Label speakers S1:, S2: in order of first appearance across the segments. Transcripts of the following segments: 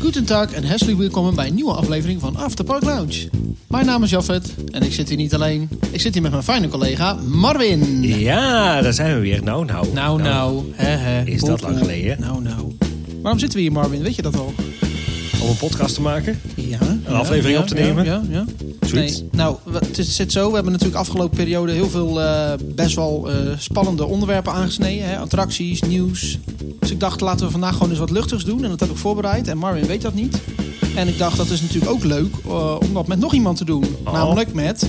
S1: Goedendag en herzlich welkom bij een nieuwe aflevering van Afterpark Lounge. Mijn naam is Jaffet en ik zit hier niet alleen. Ik zit hier met mijn fijne collega Marvin.
S2: Ja, daar zijn we weer. Nou, nou.
S1: Nou, nou, hè, hè.
S2: Is dat lang geleden?
S1: Nou, nou. Waarom zitten we hier, Marvin? Weet je dat al?
S2: Om een podcast te maken.
S1: Ja.
S2: Een aflevering op te nemen?
S1: Ja, ja.
S2: Zoiets.
S1: Nee, nou, we- het is- zit zo. We hebben natuurlijk afgelopen periode heel veel eh, best wel eh, spannende onderwerpen aangesneden. Hè? Attracties, nieuws. Dus ik dacht, laten we vandaag gewoon eens wat luchtigs doen. En dat heb ik voorbereid. En Marvin weet dat niet. En ik dacht, dat is natuurlijk ook leuk eh, om dat met nog iemand te doen.
S2: Oh.
S1: Namelijk met...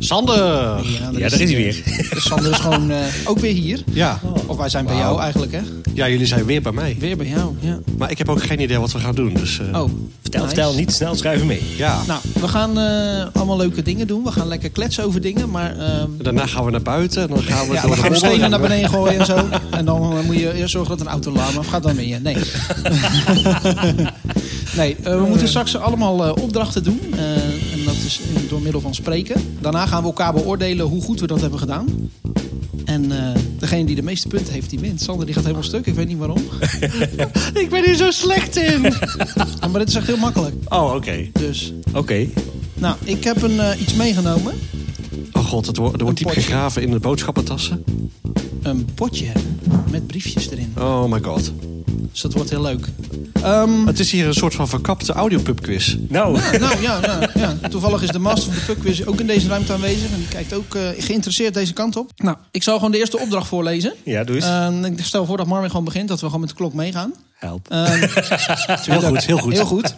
S3: Sander!
S1: Ja,
S2: Ja, daar is hij weer.
S1: Dus Sander is gewoon eh, ook weer hier.
S3: Ja.
S1: Of wij zijn bij
S2: Oh. Wauw.
S1: jou eigenlijk, hè?
S3: ja, jullie zijn weer bij mij.
S1: Weer bij jou, ja.
S3: Maar ik heb ook geen idee wat we gaan doen. Dus, eh,
S1: Oh,
S2: Vertel,
S1: nice.
S2: vertel, niet snel schrijven mee.
S3: Ja.
S1: Nou, we gaan eh, allemaal leuke dingen doen. We gaan lekker kletsen over dingen, maar... ehm,
S3: Daarna gaan we naar buiten. En dan gaan we
S1: Ja,
S3: door
S1: we gaan
S3: de
S1: stenen
S3: modder.
S1: naar beneden gooien en zo. En dan eh, moet je eerst zorgen dat een auto laat, maar gaat dan mee. hè? Nee. nee, eh, we moeten straks allemaal eh, opdrachten doen. Eh, en dat is eh, door middel van spreken. Daarna gaan we elkaar beoordelen hoe goed we dat hebben gedaan. En eh, degene die de meeste punten heeft, die wint. Sander die gaat helemaal stuk, ik weet niet waarom. ik ben hier zo slecht in. Ah, maar dit is echt heel makkelijk.
S3: Oh, oké.
S1: Dus,
S2: Oké.
S1: nou, ik heb een, eh, iets meegenomen.
S3: Oh god, het wordt, er wordt
S1: Een
S3: diep
S1: potje.
S3: gegraven in de boodschappentassen.
S1: Een potje met briefjes erin.
S3: Oh my god.
S1: Dus dat wordt heel leuk. Ehm,
S3: Het is hier een soort van verkapte audiopubquiz.
S2: Nou,
S1: nou ja, ja, ja, toevallig is de master van de pubquiz ook in deze ruimte aanwezig. En die kijkt ook eh, geïnteresseerd deze kant op. Nou, ik zal gewoon de eerste opdracht voorlezen.
S2: ja, doe eens.
S1: Ehm, ik stel voor dat Marvin gewoon begint, dat we gewoon met de klok meegaan.
S2: Help.
S1: Ehm,
S3: Heel goed, heel goed.
S1: Heel goed.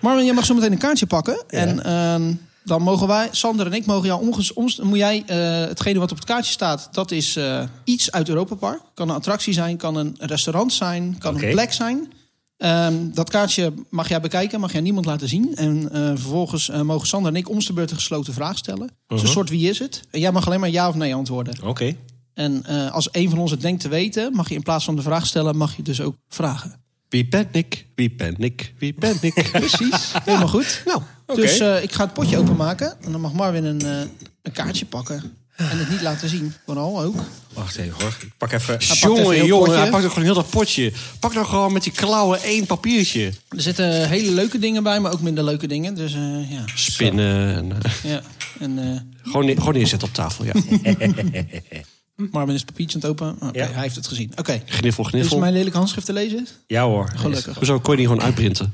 S1: Marvin, jij mag zo meteen een kaartje pakken. En ehm, dan mogen wij, Sander en ik, mogen jou omges, omst- moet jij eh, hetgene wat op het kaartje staat, dat is eh, iets uit Europa Park. Kan een attractie zijn, kan een restaurant zijn, kan
S2: Oké.
S1: een plek zijn. Ehm, dat kaartje mag jij bekijken, mag jij niemand laten zien. En eh, vervolgens eh, mogen Sander en ik ons de beurt een gesloten vraag stellen. Dus
S3: Uh-huh.
S1: een soort wie is het? En jij mag alleen maar ja of nee antwoorden.
S2: Oké.
S1: En eh, als een van ons het denkt te weten, mag je in plaats van de vraag stellen, mag je dus ook vragen.
S3: Wie ben ik? Wie ben ik? Wie ben ik? Precies.
S1: Helemaal goed.
S3: Nou,
S2: Oké.
S1: Dus eh, ik ga het potje openmaken. En dan mag Marvin een, eh, een kaartje pakken. En het niet laten zien. Vooral ook.
S2: Wacht even hoor. Ik pak even...
S1: pakt even
S3: jongen,
S1: heel
S3: jongen.
S1: potje.
S3: Hij pakt ook gewoon heel dat potje. Pak nou gewoon met die klauwen één papiertje.
S1: Er zitten hele leuke dingen bij, maar ook minder leuke dingen. Dus eh, ja.
S3: Spinnen. En, eh,
S1: ja. En eh,
S3: gewoon, neer- gewoon neerzetten op tafel, ja.
S1: Marvin is het papiertje aan het open. Oké,
S2: Ja.
S1: hij heeft het gezien. Oké.
S3: Gniffel,
S1: Is
S3: gniffel.
S1: mijn lelijke handschrift te lezen?
S2: Ja hoor.
S1: Gelukkig.
S3: Hoezo kon je die gewoon uitprinten?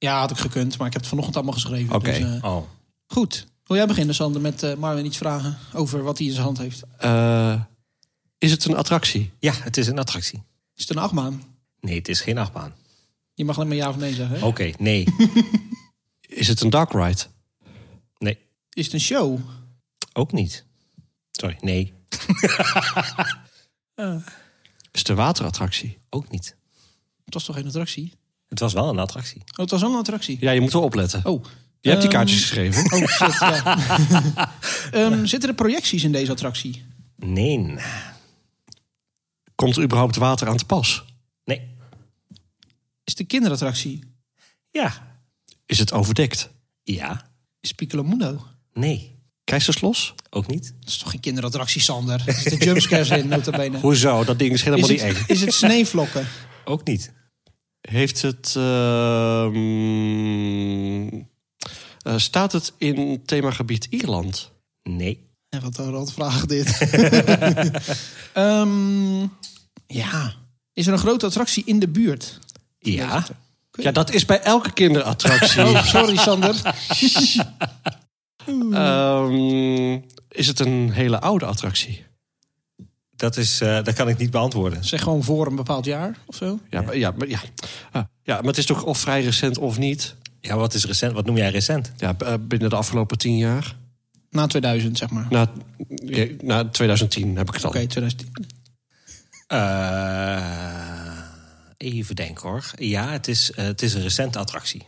S1: Ja, had ik gekund, maar ik heb het vanochtend allemaal geschreven.
S3: Oké.
S1: Dus, eh,
S2: Oh.
S1: goed. Wil jij beginnen, Sander, met eh, Marvin iets vragen over wat hij in zijn hand heeft?
S3: Eh, is het een attractie?
S2: Ja, het is een attractie.
S1: Is het een achtbaan?
S2: Nee, het is geen achtbaan.
S1: Je mag alleen maar ja of nee zeggen. hè?
S3: Oh.
S2: Oké, nee.
S3: Is het een dark ride?
S2: Nee,
S1: Is het een show?
S2: ook niet. Sorry, nee,
S3: Is het een waterattractie?
S2: ook niet.
S1: Het was toch geen attractie?
S2: Het was wel een attractie.
S1: Oh, het was wel een attractie.
S3: Ja, je moet wel opletten.
S1: Oh.
S3: Je hebt die
S1: Ehm,
S3: kaartjes geschreven.
S1: Oh, shit, ja. Ehm, zitten er projecties in deze attractie?
S2: Nee.
S3: Komt er überhaupt water aan te pas?
S2: Nee.
S1: Is het een kinderattractie?
S2: Ja.
S3: Is het overdekt?
S2: Ja.
S1: Is Piccolo Mundo?
S2: Nee.
S3: Keizerslos?
S2: Ook niet.
S1: Dat is toch geen kinderattractie, Sander? Er zitten jumpscares in, notabene.
S3: Hoezo? Dat ding is
S1: Is
S3: helemaal niet
S1: het,
S3: eng.
S1: is het sneeuwvlokken?
S2: Ook niet.
S3: Heeft het... ehm, eh, staat het in themagebied Ierland?
S2: Nee.
S1: En wat een rotvraag dit. Ehm, ja. Is er een grote attractie in de buurt?
S2: Ja.
S3: Ja, dat is bij elke kinderattractie.
S1: Oh, sorry Sander.
S3: Ehm, is het een hele oude attractie?
S2: Dat, is, eh, dat kan ik niet beantwoorden.
S1: Zeg gewoon voor een bepaald jaar of zo.
S3: Ja, maar, ja, maar, ja. Ah, ja, maar het is toch of vrij recent of niet?
S2: Ja, wat is recent? Wat noem jij recent?
S3: Ja, b- eh, binnen de afgelopen tien jaar.
S1: Na 2000, zeg maar. Oké,
S3: Na, ja, na 2010 heb ik het al.
S1: 2010.
S2: Eh, even denken hoor. Ja, het is, eh, het is een recente attractie.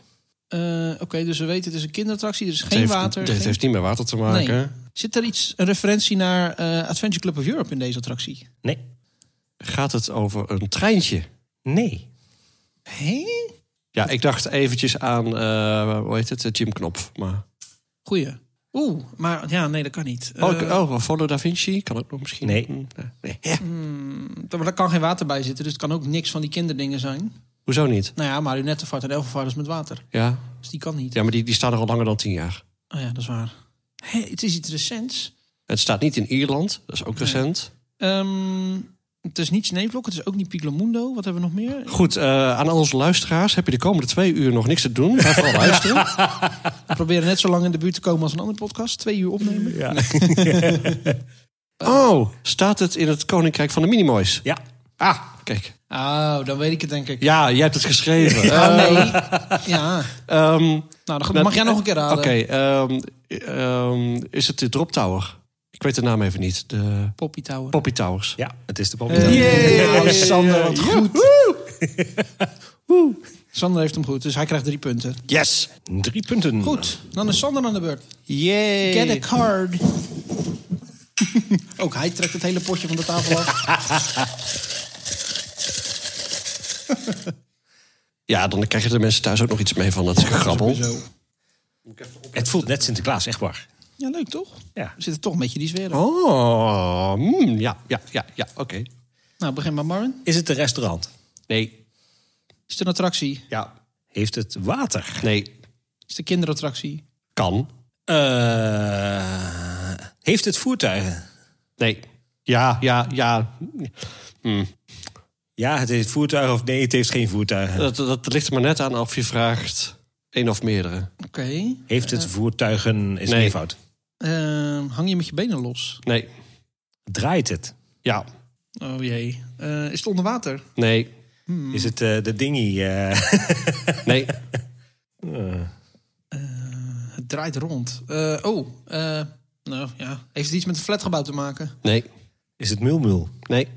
S1: Eh, Oké, dus we weten het is een kinderattractie. Er is
S3: Het
S1: geen
S3: heeft,
S1: water.
S3: Het
S1: geen-
S3: heeft niet met water te maken.
S1: Nee. Zit er iets, een referentie naar eh, Adventure Club of Europe in deze attractie?
S2: Nee.
S3: Gaat het over een treintje?
S2: Nee.
S1: Hé?
S3: Ja, ik dacht eventjes aan, eh hoe heet het, eh, Jim Knopf. Maar...
S1: Goeie. Oeh, maar ja, nee, dat kan niet.
S3: Oh,
S1: Eh,
S3: ik- oh, Follow Da Vinci kan ook nog misschien.
S2: Nee.
S3: Hm, eh, nee. Ja.
S1: d- maar daar kan geen water bij zitten, dus het kan ook niks van die kinderdingen zijn.
S3: Hoezo niet?
S1: Nou ja, marionettenvaart en elfenvaart is met water.
S3: Ja,
S1: Dus die kan niet.
S3: ja maar die, die staan er al langer dan tien jaar.
S1: Oh ja, dat is waar. Hé, het is iets recents.
S3: Het staat niet in Ierland, dat is ook recent.
S1: Ehm, het is niet Sneeuwvlok, het is ook niet Piclomundo. Wat hebben we nog meer?
S3: Goed, eh, aan al onze luisteraars heb je de komende twee uur nog niks te doen. Ga vooral luisteren.
S1: We proberen net zo lang in de buurt te komen als een andere podcast. Twee uur opnemen.
S2: Ja.
S3: Oh, staat het in het Koninkrijk van de Minimoys?
S2: ja.
S3: Ah, kijk.
S1: Oh, dan weet ik het denk ik.
S3: Ja, jij hebt het geschreven.
S1: Ah, nee. ja.
S3: Eh, ehm,
S1: Nou, dan dan mag jij nog een keer raden.
S3: Oké, ehm, ehm, is het de Drop Tower? Ik weet de naam even niet. De
S1: Poppy Tower.
S3: Poppy Towers.
S2: ja, het is de pop.
S1: Eh, ja, Sander, wat goed. Woe. Sander heeft hem goed, dus hij krijgt drie punten.
S3: Yes!
S2: Drie punten.
S1: Goed, dan is Sander aan de beurt.
S3: Yay!
S1: Get a card. Ook hij trekt het hele potje van de tafel af.
S3: Ja, dan krijgen de mensen thuis ook nog iets mee van
S1: Oh,
S3: dat gegrabbel.
S1: Zo.
S2: Het voelt net Sinterklaas, echt waar.
S1: Ja, leuk toch?
S2: Ja.
S1: We zitten toch een beetje die sfeer in.
S3: Oh, mm, ja, ja, ja, ja, oké.
S1: Nou, begin maar Marvin.
S2: Is het een restaurant?
S3: Nee,
S1: Is het een attractie?
S3: ja,
S2: Heeft het water?
S3: nee,
S1: Is het een kinderattractie?
S3: kan,
S2: Eh, heeft het voertuigen?
S3: nee. Ja, ja, ja.
S2: Ja, het heeft voertuigen of nee, het heeft geen voertuigen.
S3: Dat, dat ligt er maar net aan of je vraagt één of meerdere.
S1: Oké.
S2: Heeft het voertuigen is
S3: Nee.
S2: een fout.
S1: Ehm, hang je met je benen los?
S3: Nee,
S2: Draait het?
S3: ja,
S1: Oh jee. Eh, is het onder water?
S3: nee,
S2: Is het eh, de dingy? eh,
S3: nee,
S1: Het draait rond. Eh, oh, eh, nou ja. Heeft het iets met een flatgebouw te maken?
S3: nee,
S2: is het mulmul?
S3: nee,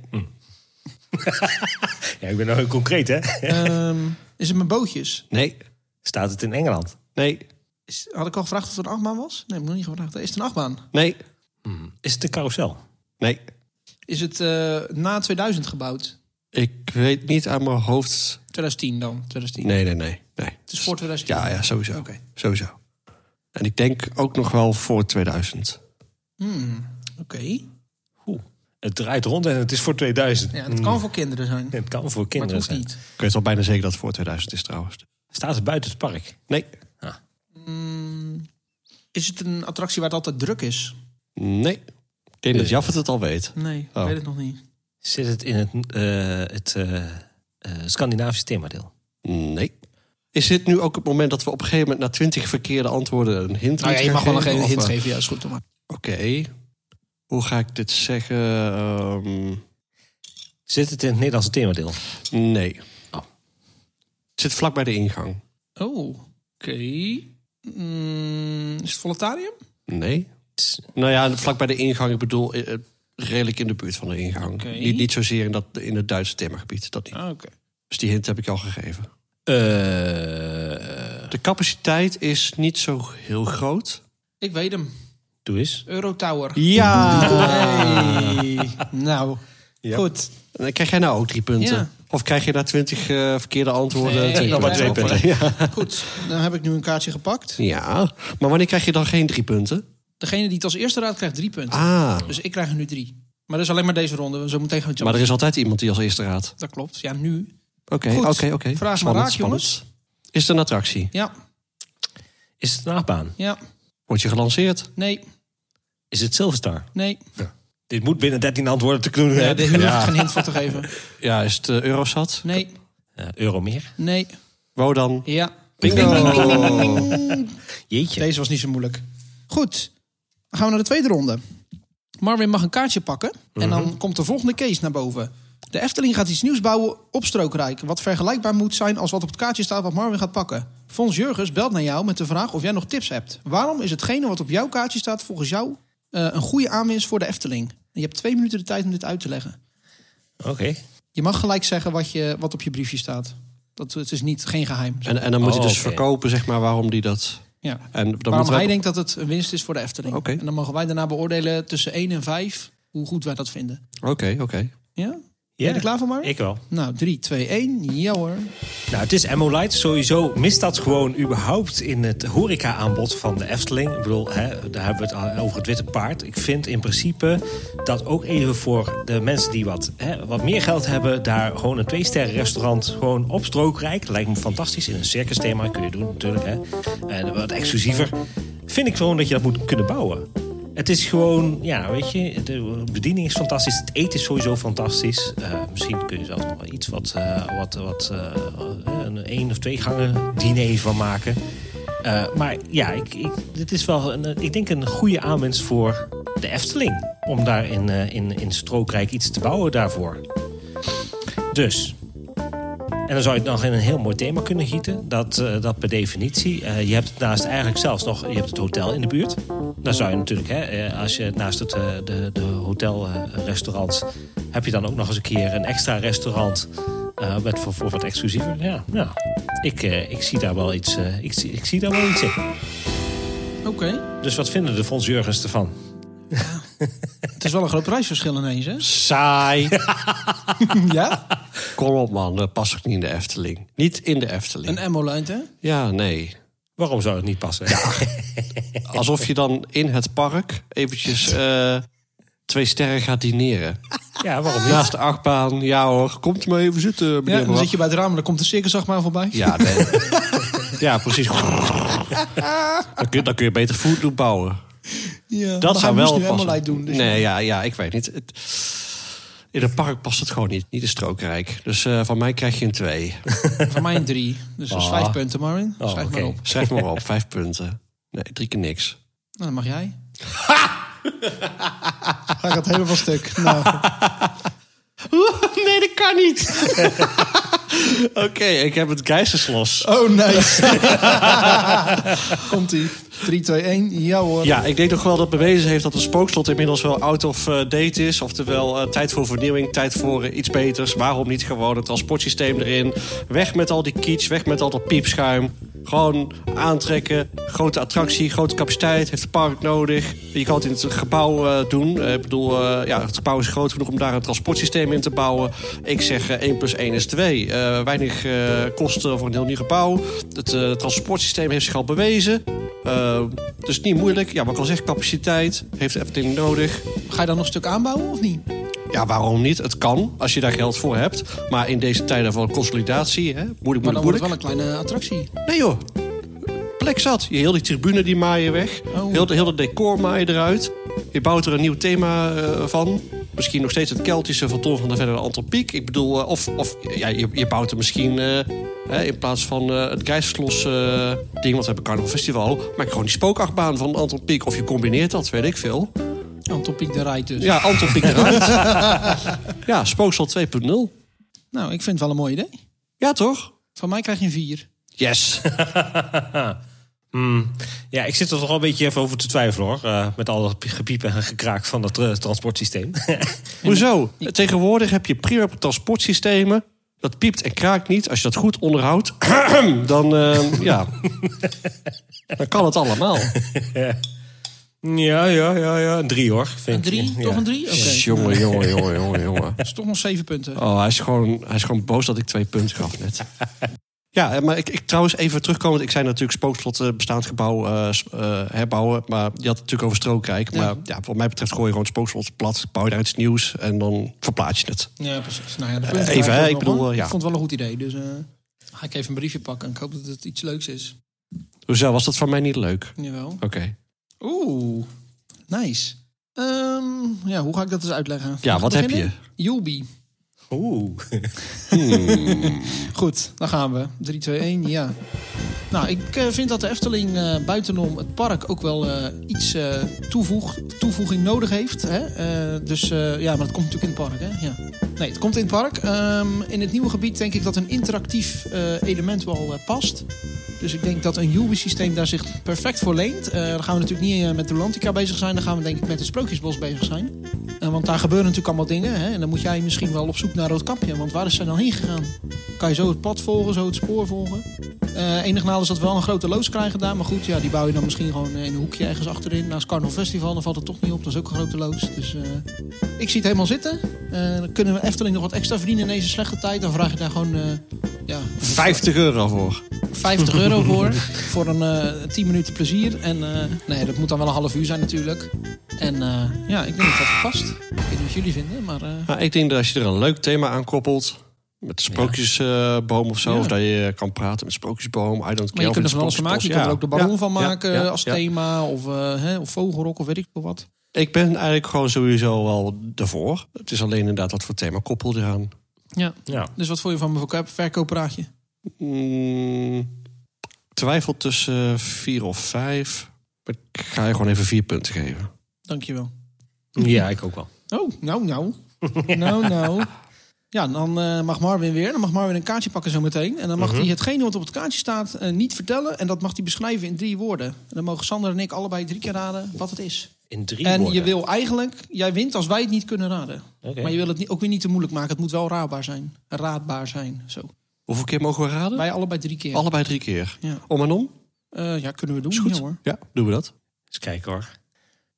S2: Ja, ik ben nou heel concreet, hè?
S1: Ehm, is het met bootjes?
S3: nee,
S2: Staat het in Engeland?
S3: nee,
S1: Is, had ik al gevraagd of het een achtbaan was? Nee, heb ik nog niet gevraagd. Is het een achtbaan?
S3: nee,
S2: Is het een carousel?
S3: nee.
S1: Is het eh, na 2000 gebouwd?
S3: Ik weet niet aan mijn hoofd.
S1: 2010 dan, 2010.
S3: Nee, nee, nee, nee.
S1: Het is voor 2010.
S3: Ja, ja, sowieso.
S1: Oké.
S3: Sowieso. En ik denk ook nog wel voor 2000.
S1: Oké.
S2: Oeh. Het draait rond en het is voor 2000.
S1: Ja, dat kan voor kinderen zijn.
S2: Het kan voor
S1: maar het
S2: kinderen
S1: hoeft
S2: zijn.
S1: niet.
S3: Ik weet wel bijna zeker dat het voor 2000 is trouwens.
S2: Staat het buiten het park?
S3: Nee,
S1: Mm. Is het een attractie waar het altijd druk is?
S3: nee. Ik denk
S1: Eh.
S3: dat Jaffet het al weet.
S1: Nee,
S3: Oh.
S1: ik weet het nog niet.
S2: Zit het in het, eh, het eh, eh, Scandinavisch themadeel?
S3: Nee. Is dit nu ook het moment dat we op een gegeven moment... na 20 verkeerde antwoorden een
S1: Nou
S3: hint
S1: ja,
S3: moeten
S1: je mag
S3: gaan
S1: wel nog
S3: geven,
S1: een hint
S3: of, eh,
S1: geven. Ja, is goed. Doe maar.
S3: Oké. Hoe ga ik dit zeggen? Ehm,
S2: Zit het in het Nederlandse themadeel?
S3: nee. Het zit vlak bij de ingang.
S1: Oh, oké. Mm, is het Voletarium?
S3: Nee. Nou ja, vlak bij de ingang. Ik bedoel, eh, eh, redelijk in de buurt van de ingang.
S1: Oké.
S3: Niet, niet zozeer in, dat, in het Duitse timmergebied. Dat niet.
S1: Ah, Oké.
S3: Dus die hint heb ik al gegeven.
S2: Eh,
S3: De capaciteit is niet zo heel groot.
S1: Ik weet hem.
S2: doe eens.
S1: Eurotower.
S3: Ja!
S1: Hey. Nou, goed.
S3: Dan krijg jij nou ook drie punten.
S1: Ja.
S3: Of krijg je na twintig eh, verkeerde antwoorden...
S1: Nee,
S3: twee
S1: nog maar
S3: punten?
S1: twee
S3: Ja.
S1: Goed, dan heb ik nu een kaartje gepakt.
S3: ja, maar wanneer krijg je dan geen drie punten?
S1: Degene die het als eerste raadt, krijgt drie punten.
S3: Ah,
S1: Dus ik krijg er nu drie. Maar dat is alleen maar deze ronde. Zo meteen gaan we het
S3: maar er is altijd iemand die als eerste raadt.
S1: Dat klopt. Ja, nu.
S3: Oké,
S1: Goed.
S3: oké, oké.
S1: Vraag maar
S3: Spannend,
S1: raak,
S3: spannend.
S1: jongens.
S3: Is het een attractie?
S1: Ja,
S2: Is het een achtbaan?
S1: ja.
S3: Word je gelanceerd?
S1: Nee,
S2: Is het Silverstar?
S1: nee.
S2: Dit moet binnen 13 antwoorden te kunnen
S1: Ja,
S2: hebben.
S1: Daar hoef ik geen hint voor te geven.
S3: Ja, is het eh, Eurosat?
S1: Nee,
S2: Eh, euro meer?
S1: nee,
S3: Wodan?
S1: ja.
S2: Jeetje.
S1: Deze was niet zo moeilijk. Goed, dan gaan we naar de tweede ronde. Marvin mag een kaartje pakken. En dan komt de volgende case naar boven. De Efteling gaat iets nieuws bouwen op Strookrijk. Wat vergelijkbaar moet zijn als wat op het kaartje staat wat Marvin gaat pakken. Fons Jurgens belt naar jou met de vraag of jij nog tips hebt. Waarom is hetgene wat op jouw kaartje staat volgens jou eh, een goede aanwinst voor de Efteling? En je hebt twee minuten de tijd om dit uit te leggen.
S2: Oké.
S1: Je mag gelijk zeggen wat, je, wat op je briefje staat. Dat, het is niet, geen geheim.
S3: En, en dan moet
S2: Oh,
S3: je dus
S2: oké.
S3: verkopen, zeg maar, waarom die dat...
S1: Ja.
S3: En dan
S1: Waarom
S3: moeten
S1: hij
S3: wij...
S1: denkt dat het een winst is voor de Efteling.
S3: Oké.
S1: En dan mogen wij daarna beoordelen tussen 1 en 5 hoe goed wij dat vinden.
S3: Oké, oké.
S1: Ja? Ben je er klaar voor, Mark?
S2: Ik wel.
S1: Nou, 3, 2, 1. Ja hoor.
S2: Nou, het is Emolite. Sowieso mist dat gewoon überhaupt in het horeca-aanbod van de Efteling. Ik bedoel, hè, daar hebben we het al over het witte paard. Ik vind in principe dat ook even voor de mensen die wat, hè, wat meer geld hebben... daar gewoon een twee-sterren restaurant gewoon op strookrijk. Lijkt me fantastisch. In een circus thema kun je doen natuurlijk. Hè. En wat exclusiever. Vind ik gewoon dat je dat moet kunnen bouwen. Het is gewoon, ja, weet je, de bediening is fantastisch. Het eten is sowieso fantastisch. Eh, misschien kun je zelfs nog wel iets wat, eh, wat, wat eh, een één of twee gangen diner van maken. Eh, maar ja, ik, ik, dit is wel, een, ik denk een goede aanwinst voor de Efteling. Om daar in, eh, in, in Strookrijk iets te bouwen daarvoor. Dus, en dan zou je het nog in een heel mooi thema kunnen gieten. Dat, eh, dat per definitie. Eh, je hebt het naast eigenlijk zelfs nog je hebt het hotel in de buurt. Dan zou je natuurlijk, hè, eh, als je naast het, eh, de, de hotelrestaurants... heb je dan ook nog eens een keer een extra restaurant... eh, met, voor, voor wat exclusiever. Ja, ja. Ik, eh, ik zie daar wel iets, eh, ik, zie- ik zie daar wel iets in.
S1: Oké.
S2: Dus wat vinden de fondsjurgens ervan?
S1: Het is wel een groot prijsverschil ineens, hè?
S3: Saai.
S1: Ja?
S3: Kom op, man. Dat past ook niet in de Efteling. Niet in de Efteling.
S1: Een Emolite, hè?
S3: Ja, nee.
S2: Waarom zou het niet passen?
S3: Alsof je dan in het park eventjes eh, twee sterren gaat dineren.
S2: Ja, waarom niet?
S3: Naast de achtbaan. Ja hoor, komt maar even zitten, meneer
S1: Ja, dan
S3: Brak.
S1: zit je bij het raam en dan komt de circusachtbaan voorbij.
S3: Ja, nee. ja, precies. dan, kun, dan kun je beter foodloop bouwen.
S1: Ja,
S3: Dat
S1: maar
S3: zou
S1: hij
S3: wel
S1: moest nu
S3: passen.
S1: Emolite doen. Dus
S3: Nee, ja, ja, ik weet niet. Het, in het park past het gewoon niet. Niet in Strookrijk. Dus eh, van mij krijg je een twee.
S1: Van mij een drie. Dus dat is
S2: Ah.
S1: vijf punten, Marvin.
S2: Oh,
S1: Schrijf
S2: oké.
S1: maar op.
S3: Schrijf maar op, vijf punten. Nee, drie keer niks.
S1: Nou, dan mag jij. Hij gaat helemaal stuk. Nou,
S3: nee, dat kan niet. Oké, ik heb het geisterslos.
S1: oh, nice. Komt ie. 3, 2, 1. Ja hoor.
S3: Ja, ik denk toch wel dat bewezen heeft dat een spookslot inmiddels wel out of eh, date is. Oftewel, eh, tijd voor vernieuwing, tijd voor eh, iets beters. Waarom niet gewoon het transportsysteem erin? Weg met al die kitsch, weg met al dat piepschuim. Gewoon aantrekken. Grote attractie, grote capaciteit, heeft het park nodig. Je kan het in het gebouw eh, doen. Eh, ik bedoel, eh, ja, het gebouw is groot genoeg om daar een transportsysteem in te bouwen. Ik zeg eh, 1 plus 1 is 2. Eh, weinig eh, kosten voor een heel nieuw gebouw. Het eh, transportsysteem heeft zich al bewezen. Eh, dus niet moeilijk. Ja, maar ik al zeg, capaciteit heeft de Efteling nodig.
S1: Ga je dan nog een stuk aanbouwen of niet?
S3: Ja, waarom niet? Het kan, als je daar geld voor hebt. Maar in deze tijden van consolidatie, hè? moeilijk,
S1: Maar dan
S3: moeilijk,
S1: wordt het
S3: moeilijk.
S1: wel een kleine attractie.
S3: Nee joh, plek zat. Je heel die tribune die maai je weg.
S1: Oh.
S3: Heel, de, heel het decor maai je eruit. Je bouwt er een nieuw thema eh, van. Misschien nog steeds het Keltische van Ton van der Verder en Anton Pieck. Ik bedoel, eh, of, of ja, je, je bouwt er misschien eh, hè, in plaats van eh, het Geisterslos eh, ding, want we hebben Carnival Festival, maak gewoon die spookachtbaan van Anton Pieck. Of je combineert dat, weet ik veel.
S1: Anton Pieck de Rijt dus.
S3: Ja, Anton Pieck eruit. ja, Spooksel 2.0.
S1: Nou, ik vind het wel een mooi idee.
S3: Ja, toch?
S1: Van mij krijg je een 4.
S3: Yes.
S2: Hmm. Ja, ik zit er toch wel een beetje even over te twijfelen hoor. Eh, met al dat gepiep en gekraak van dat eh, transportsysteem.
S3: Hoezo? Tegenwoordig heb je prima transportsystemen. Dat piept en kraakt niet. Als je dat goed onderhoudt, dan, eh, ja. dan kan het allemaal.
S2: ja, ja, ja, ja. Een drie hoor. Vind
S1: Een
S2: ik.
S1: 3?
S2: Ja.
S1: Toch een 3? Oké.
S3: Jongen, jongen, jongen, jongen, jongen.
S1: Dat is toch nog 7 punten.
S3: Oh, hij is, gewoon, hij is gewoon boos dat ik twee punten gaf net. Ja, eh, maar ik, ik trouwens even terugkomend. Ik zei natuurlijk spookslot eh, bestaand gebouw eh, s- eh, herbouwen. Maar je had het natuurlijk over strookrijk. Maar ja, wat mij betreft gooi je gewoon spookslot plat. Bouw je daar iets nieuws en dan verplaats je het.
S1: Ja, precies. Nou ja, de
S3: Eh,
S1: punten
S3: even,
S1: krijg je
S3: hè,
S1: ook
S3: ik
S1: nog,
S3: bedoel,
S1: hoor.
S3: eh, ja.
S1: Ik vond het wel een goed idee. Dus eh, ga ik even een briefje pakken. Ik hoop dat het iets leuks is.
S3: Hoezo was dat voor mij niet leuk?
S1: Jawel.
S3: Oké.
S1: Oeh, nice. Ehm, ja, hoe ga ik dat eens uitleggen?
S3: Ja, wat heb je?
S1: Julbi.
S2: Oeh.
S3: Hmm.
S1: Goed, dan gaan we. 3, 2, 1, ja. Nou, ik eh, vind dat de Efteling eh, buitenom het park ook wel eh, iets eh, toevoeg, toevoeging nodig heeft. Hè? Eh, dus eh, ja, maar het komt natuurlijk in het park, hè? Ja. Nee, het komt in het park. Ehm, in het nieuwe gebied denk ik dat een interactief eh, element wel eh, past. Dus ik denk dat een Yubi-systeem daar zich perfect voor leent. Eh dan gaan we natuurlijk niet eh, met de Rolantica bezig zijn. Dan gaan we denk ik met het Sprookjesbos bezig zijn. Eh, want daar gebeuren natuurlijk allemaal dingen. Hè? En dan moet jij misschien wel op zoek naar Roodkapje. Want waar is zij dan heen gegaan? Kan je zo het pad volgen, zo het spoor volgen? Eh enig nadeel is dat we wel een grote loods krijgen daar. Maar goed, ja, die bouw je dan misschien gewoon eh, in een hoekje ergens achterin. Naast Carnival Festival, dan valt het toch niet op. Dat is ook een grote loods. Dus eh, ik zie het helemaal zitten. Eh, dan kunnen we Efteling nog wat extra verdienen in deze slechte tijd. Dan vraag je daar gewoon eh, ja, een
S3: 50 euro voor.
S1: 50 euro voor. Voor een eh 10 minuten plezier. En eh, nee, dat moet dan wel een half uur zijn natuurlijk. En eh, ja, ik denk dat dat past. Ik weet niet wat jullie vinden, maar... eh,
S3: Nou, ik denk dat als je er een leuk thema aan koppelt. Met de sprookjesboom of zo.
S1: Ja.
S3: Of dat je kan praten met sprookjesboom. I don't care.
S1: maar je kunt
S3: of
S1: er
S3: met
S1: van alles van maken. Je kunt
S3: sprookjesbos.
S1: er ook de baron van
S3: Ja,
S1: maken
S3: ja,
S1: als
S3: ja.
S1: thema. Of, eh, hè, of vogelrok of weet ik veel wat.
S3: Ik ben eigenlijk gewoon sowieso wel ervoor. Het is alleen inderdaad wat voor thema koppel je aan.
S1: Ja.
S2: Ja.
S1: Dus wat vond je van mijn verkoop- verkooppraatje?
S3: Mm, twijfel tussen eh, vier of vijf. Ik ga je gewoon even vier punten geven.
S1: Dankjewel.
S2: ja, ik ook wel.
S1: Oh, nou, nou. Nou, nou. Ja, dan eh, mag Marvin weer. Dan mag Marvin een kaartje pakken zometeen. En dan
S2: Mhm.
S1: mag hij hetgene wat op het kaartje staat eh, niet vertellen. En dat mag hij beschrijven in drie woorden. En dan mogen Sander en ik allebei drie keer raden wat het is.
S2: In drie
S1: en
S2: woorden.
S1: je wil eigenlijk, jij wint als wij het niet kunnen raden.
S2: Oké.
S1: Maar je wil het niet, ook weer niet te moeilijk maken. Het moet wel raadbaar zijn. Raadbaar zijn. Zo.
S3: Hoeveel keer mogen we raden?
S1: Wij allebei drie keer.
S3: Allebei drie keer.
S1: Ja.
S3: Om en om?
S1: Eh, ja, kunnen we doen.
S3: Is goed.
S1: Ja, hoor.
S3: Ja, doen we dat.
S2: Eens kijken hoor.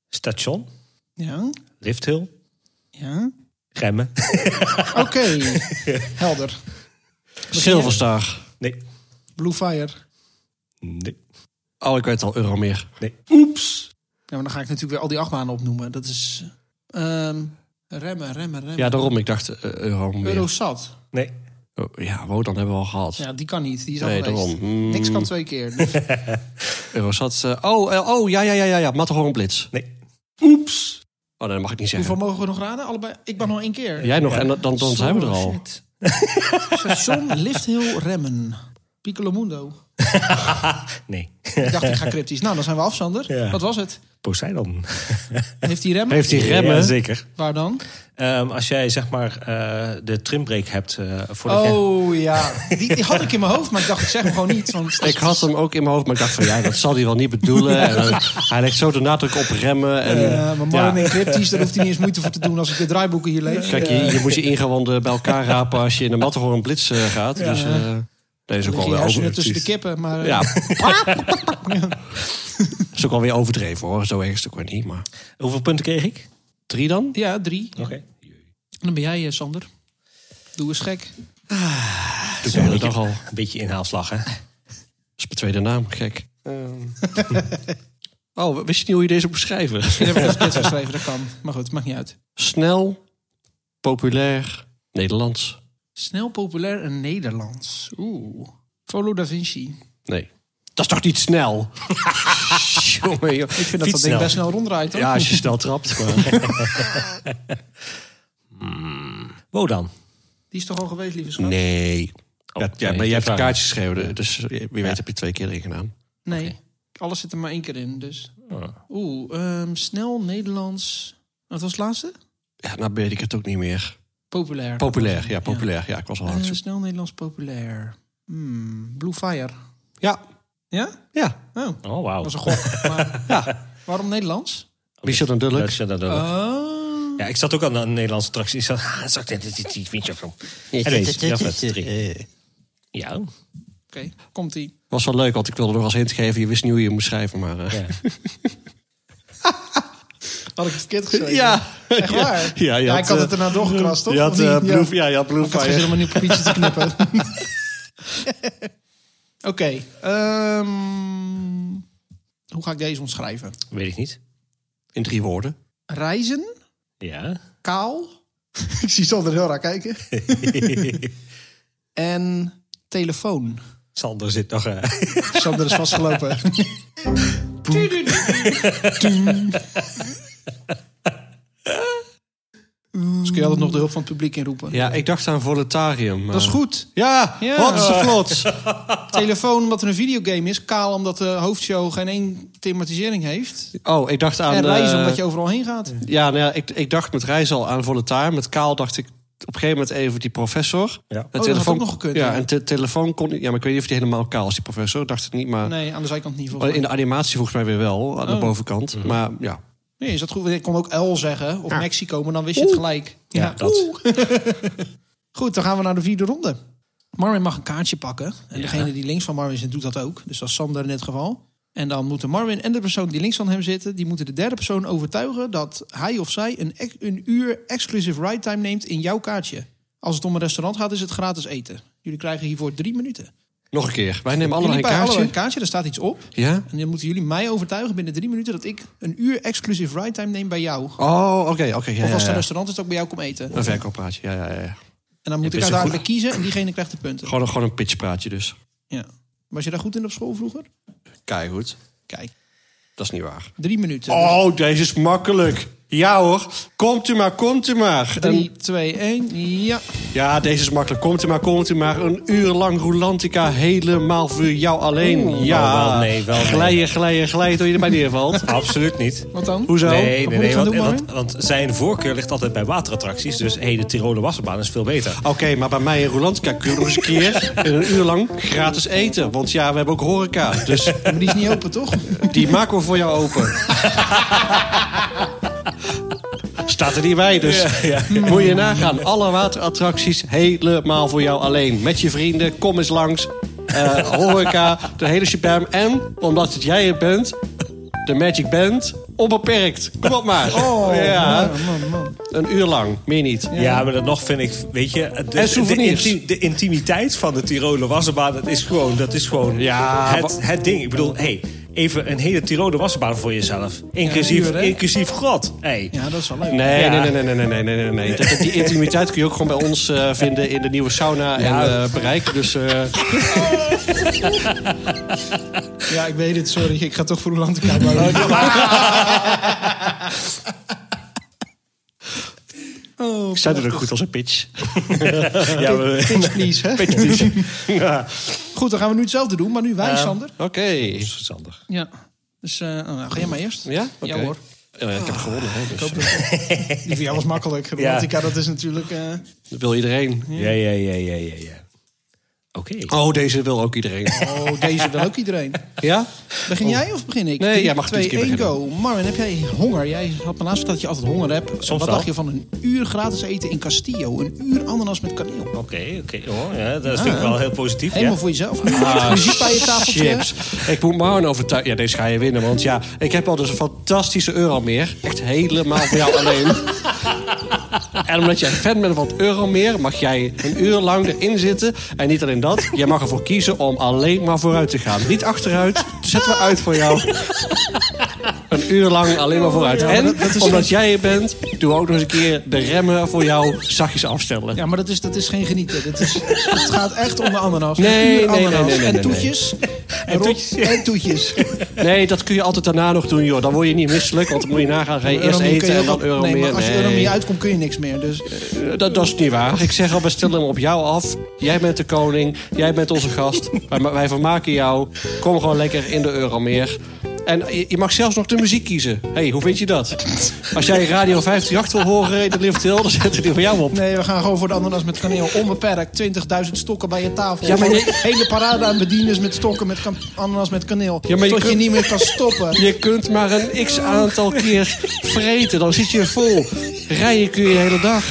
S2: Station,
S1: Ja.
S2: lifthill,
S1: ja.
S2: remmen.
S1: Oké. Helder.
S3: Silverstar.
S2: Nee,
S1: Blue Fire.
S2: nee,
S3: Oh, ik weet al, Euromeer.
S2: nee.
S1: Ja, maar dan ga ik natuurlijk weer al die achtbanen opnoemen. Dat is ehm, remmen, remmen, remmen.
S3: Ja, daarom. Ik dacht eh, Euromeer.
S1: Eurosat.
S2: Nee,
S3: Oh, ja, Wodan hebben we al gehad.
S1: Ja, die kan niet. Die is al
S3: nee,
S1: geweest.
S3: daarom. Mm,
S1: Niks kan twee keer. Dus
S3: Eurosat. eh, oh, eh, oh, ja, ja, ja, ja. ja. Matterhorn Blitz.
S2: nee.
S3: Oeps. Oh, nee, dat mag ik niet
S1: hoeveel
S3: zeggen.
S1: mogen we nog raden? Allebei. Ik ben nog één keer.
S3: Jij nog, en dan, dan, dan zijn we er
S1: Oh,
S3: al.
S1: shit. Station Lifthill Remmen. Piccolo Mundo.
S2: Nee.
S1: Ik dacht, ik ga cryptisch. Nou, dan zijn we af, Sander.
S2: Ja.
S1: Wat was het?
S2: Poseidon.
S1: Heeft hij remmen?
S3: Heeft hij remmen?
S2: Ja, zeker.
S1: Waar dan?
S2: Ehm, als jij zeg maar eh, de trimbreak hebt eh, voor de rem-
S1: Oh ja, die, die had ik in mijn hoofd, maar ik dacht, ik zeg hem gewoon niet. Want
S3: Ik had hem ook in mijn hoofd, maar ik dacht van ja, dat zal hij wel niet bedoelen. En, eh, hij legt zo de nadruk op remmen. En,
S1: Ja, maar
S3: ja.
S1: Marvin en cryptisch, daar hoeft hij niet eens moeite voor te doen als ik de draaiboeken hier lees.
S3: Kijk, je, je moet je ingewanden bij elkaar rapen als je in de Matterhorn Blitz eh, gaat. Dus eh deze is ook
S1: Dan
S3: wel
S1: liggen je
S3: weer
S1: hersenen tussen
S3: overdreven.
S1: de kippen, maar eh,
S3: Ja. is ook alweer overdreven hoor, zo erg is het ook weer niet. Maar
S2: Hoeveel punten kreeg ik?
S3: drie dan?
S1: eh, ja, drie.
S2: Oké.
S1: Dan ben jij, eh, Sander. Doe eens gek.
S3: Doe ik de hele dag al. Dat
S2: Een beetje inhaalslag, hè?
S3: is mijn tweede naam, gek. oh, wist je niet hoe je deze moet beschrijven?
S1: Ik heb het net geschreven, dat kan. Maar goed, maakt niet uit.
S3: Snel, populair, Nederlands.
S1: Snel, populair en Nederlands. Oeh. Volo da Vinci.
S3: Nee. Dat is toch niet snel? Jongen,
S1: Ik
S3: joh.
S1: vind dat dat ding
S2: Fietssnel.
S1: best snel ronddraait. hoor.
S3: Ja, als je snel trapt. Maar.
S2: Wodan.
S1: Die is toch al geweest, lieve
S3: Mm.
S1: schat?
S3: Nee. ja, ja, maar
S2: nee,
S3: je hebt een
S2: dat
S3: kaartje geschreven, dus wie weet heb je twee keer erin gedaan.
S1: Nee. Alles zit er maar één keer in, dus.
S2: Oh.
S3: Ah.
S1: Oeh, ehm, snel, Nederlands. Wat was het laatste?
S3: Ja, nou weet ik het ook niet meer.
S1: Populair.
S3: Populair, ja, populair. Ja, ik was al aan
S1: Eh,
S3: het zoeken.
S1: snel, Nederlands, populair. Hmm, Blue Fire.
S3: Ja,
S1: Ja?
S3: ja,
S1: Oh,
S2: Oh, wauw.
S1: dat was een gok. Maar, waarom Nederlands?
S3: Michel en Dulk.
S2: Dat is- dat- dat-
S1: Oh.
S2: Ja, ik zat ook aan een Nederlandse attractie. Ik zat, ah, dat zat- dit- dit- dit- dit- vind je wel. En deze, dat was drie. Ja,
S1: Oké, komt ie.
S3: Was wel leuk, want ik wilde nog als hint geven. Je wist niet hoe je moest schrijven, maar... eh,
S2: ja.
S1: Had ik het verkeerd geschreven?
S3: echt
S1: waar?
S3: Ja, je
S1: Ja, ik had
S3: eh,
S1: het erna doorgekrast, toch?
S3: Je had,
S1: Of niet?
S3: eh,
S1: Ja.
S3: Blue, ja, je had Blue
S1: Ik had
S3: Fire.
S1: geen zin om een nieuw papiertje te knippen. Oké. ehm, hoe ga ik deze omschrijven?
S2: weet ik niet.
S3: In drie woorden.
S1: Reizen?
S2: Ja.
S1: Kaal? ik zie Sander heel raar kijken. en telefoon.
S2: Sander zit nog. eh,
S1: Sander is vastgelopen. Boem. Doem. Dus kun je altijd nog de hulp van het publiek inroepen.
S3: Ja, ik dacht aan eh. Voletarium. maar-
S1: Dat is goed.
S3: Ja,
S1: Ja.
S3: wat is de vlot.
S1: Telefoon omdat er een videogame is. Kaal omdat de hoofdshow geen één thematisering heeft.
S3: Oh, ik dacht aan...
S1: en
S3: eh,
S1: reizen omdat je overal heen gaat.
S3: Ja, nou ja ik, ik dacht met reis al aan Volontair. Met Kaal dacht ik op een gegeven moment even die professor.
S2: Ja. Oh,
S3: En
S1: dat had ook nog gekund,
S3: Ja,
S1: ja.
S3: en te- telefoon kon niet. Ja, maar ik weet niet of die helemaal kaal is, die professor. Dacht ik niet, maar
S1: Nee, aan de zijkant niet
S3: maar
S1: volgens
S3: Oh, in
S1: mij.
S3: de animatie volgens mij weer wel. Aan de
S1: Oh.
S3: bovenkant. Maar ja.
S1: Nee, is dat goed? Ik kon ook L zeggen. Of Mexico, maar dan wist je het gelijk. Ja,
S2: dat.
S1: Oeh. goed, dan gaan we naar de vierde ronde. Marvin mag een kaartje pakken. En degene die links van Marvin zit, doet dat ook. Dus dat is Sander in dit geval. En dan moeten Marvin en de persoon die links van hem zitten... die moeten de derde persoon overtuigen dat hij of zij een, ex- een uur exclusive ride time neemt in jouw kaartje. Als het om een restaurant gaat, is het gratis eten. Jullie krijgen hiervoor drie minuten.
S3: Nog een keer. Wij nemen allemaal
S1: jullie
S3: een
S1: bij allebei
S3: kaartje.
S1: een kaartje, daar staat iets op.
S3: Ja?
S1: En dan moeten jullie mij overtuigen binnen drie minuten dat ik een uur exclusief ride time neem bij jou.
S3: Oh, oké, oké. ja,
S1: Of als
S3: ja,
S1: het een
S3: ja.
S1: restaurant is, dat ik bij jou kom eten.
S3: Een verkooppraatje, ja, ja, ja, ja.
S1: En dan moet
S2: Ja,
S1: ik
S2: best een
S1: uiteindelijk kiezen en diegene krijgt de punten.
S3: Gewoon, een- gewoon een pitchpraatje dus.
S1: Ja. Was je daar goed in op school vroeger?
S3: Keigoed.
S1: Kijk,
S3: Dat is niet waar.
S1: drie minuten.
S3: Oh, deze is makkelijk. Ja hoor. Komt u maar, komt u maar. Een-
S1: Drie, twee, één, ja.
S3: ja, deze is makkelijk. Komt u maar, komt u maar. Een uur lang Rolantica helemaal voor jou alleen. ja.
S2: Oh, wel nee, wel nee.
S3: Glijden, glijden, glijden tot je erbij neervalt.
S2: Absoluut niet.
S1: Wat dan?
S3: Hoezo?
S2: Nee, nee,
S1: moet ik
S2: nee
S1: gaan
S2: want,
S1: doen,
S2: want, want zijn voorkeur ligt altijd bij waterattracties. Dus hey, de Tiroler wasserbaan is veel beter.
S3: Oké, maar bij mij in Rolantica kun je nog eens een keer een uur lang gratis eten. Want ja, we hebben ook horeca. Dus
S1: Maar die is niet open, toch?
S3: die maken we voor jou open. Staat er niet bij, dus moet je nagaan. Alle waterattracties helemaal voor jou alleen. Met je vrienden, kom eens langs. Eh, horeca, de hele shabam. En, omdat het jij het bent, de Magic Band, onbeperkt. Kom op maar.
S1: Oh,
S3: ja,
S1: man, man, man.
S3: een uur lang, meer niet.
S2: nou. Ja, maar dat nog vind ik, weet je... De,
S3: En souvenirs.
S2: De, inti- de intimiteit van de Tiroler wasserbaan, dat is gewoon, dat is gewoon
S3: Ja,
S2: het, het ding. Ik bedoel, hey, even een hele Tiroler wasserbaan voor jezelf. Inclusief,
S1: een uur, hè?
S2: inclusief God. Hey.
S1: Ja, dat is wel leuk.
S3: Nee,
S2: Ja.
S3: nee, nee, nee, nee, nee, nee, nee, nee. Dat- Die intimiteit kun je ook gewoon bij ons eh, vinden in de nieuwe sauna en
S2: Ja.
S3: eh, bereik. Dus eh,
S1: Ja, ik weet het, sorry. Ik ga toch voor Rolantica bouwen. Oh,
S3: ik zei dat ook goed als een pitch.
S2: Ja, we-
S1: Pitch please, hè? Goed, dan gaan we nu hetzelfde doen, maar nu wij, Sander.
S3: Oké. Eh,
S1: Ja. Dus eh, oh, nou, ga jij maar eerst?
S3: Ja? Oké.
S1: Ja hoor.
S3: Eh, ik heb gewonnen, hè, dus
S1: Die voor jou was makkelijk. Rolantica, dat is natuurlijk... eh,
S3: dat wil iedereen.
S2: ja, ja, ja, ja, ja. ja. Oké.
S3: Oh, deze wil ook iedereen.
S1: oh, deze wil ook iedereen.
S3: Ja?
S1: Begin jij of begin ik?
S3: Oh. Nee,
S1: Drie,
S3: jij mag
S1: twee,
S3: dit keer
S1: één,
S3: beginnen.
S1: go. Marvin, heb jij honger? Jij had me laatst verteld dat je altijd honger hebt. Wat
S2: wel.
S1: dacht je van een uur gratis eten in Castillo? Een uur ananas met kaneel.
S2: Oké, oké. hoor. Ja, dat is natuurlijk wel heel positief.
S1: Ah. Helemaal
S2: ja.
S1: voor jezelf. Muziek bij je tafeltje.
S3: Ah, Chips. Ik moet Marwan overtuigen. Ja, deze ga je winnen. Want ja, ik heb al dus een fantastische Euromeer. Echt helemaal voor jou alleen. En omdat jij fan bent van het Euromeer, mag jij een uur lang erin zitten. En niet alleen dat, jij mag ervoor kiezen om alleen maar vooruit te gaan. Niet achteruit, dat zetten we uit voor jou. Een uur lang alleen maar vooruit.
S1: Ja, maar
S3: en
S1: dat- dat is-
S3: omdat jij er bent, doen we ook nog eens een keer de remmen voor jou zachtjes afstellen.
S1: Ja, maar dat is, dat is geen genieten. Dat is, het gaat echt om de ananas.
S3: Nee,
S1: Een uur
S3: nee, nee,
S1: ananas.
S3: nee, nee,
S1: En
S3: nee.
S1: toetjes. En toetjes. En toetjes.
S3: Nee, dat kun je altijd daarna nog doen, joh. Dan word je niet misselijk, want dan moet je nagaan. Ga je eerst
S1: Euromeer kun
S3: eten
S1: je
S3: en
S1: ook-
S3: dan Euromeer.
S1: Nee, maar als je
S3: Nee.
S1: Euromeer uitkomt kun je niks meer. Dus
S3: Eh, Dat, dat is niet waar. Ik zeg al, we stellen hem op jou af. Jij bent de koning, jij bent onze gast. Wij, wij vermaken jou. Kom gewoon lekker in de Euromeer. En je, je mag zelfs nog de muziek kiezen. Hé, hey, hoe vind je dat? Als jij Radio 538 wil horen in de lift Hill, dan zetten we die voor jou op.
S1: nee, we gaan gewoon voor de ananas met kaneel. Onbeperkt. 20.000 stokken bij je tafel.
S3: Ja, maar je-
S1: Gewoon Hele parade aan bedieners met stokken met kan- ananas met kaneel.
S3: Ja, maar je
S1: Tot je
S3: kunt-
S1: niet meer kan stoppen.
S3: Je kunt maar een x aantal keer vreten, dan zit je vol. Rijden kun je de hele dag.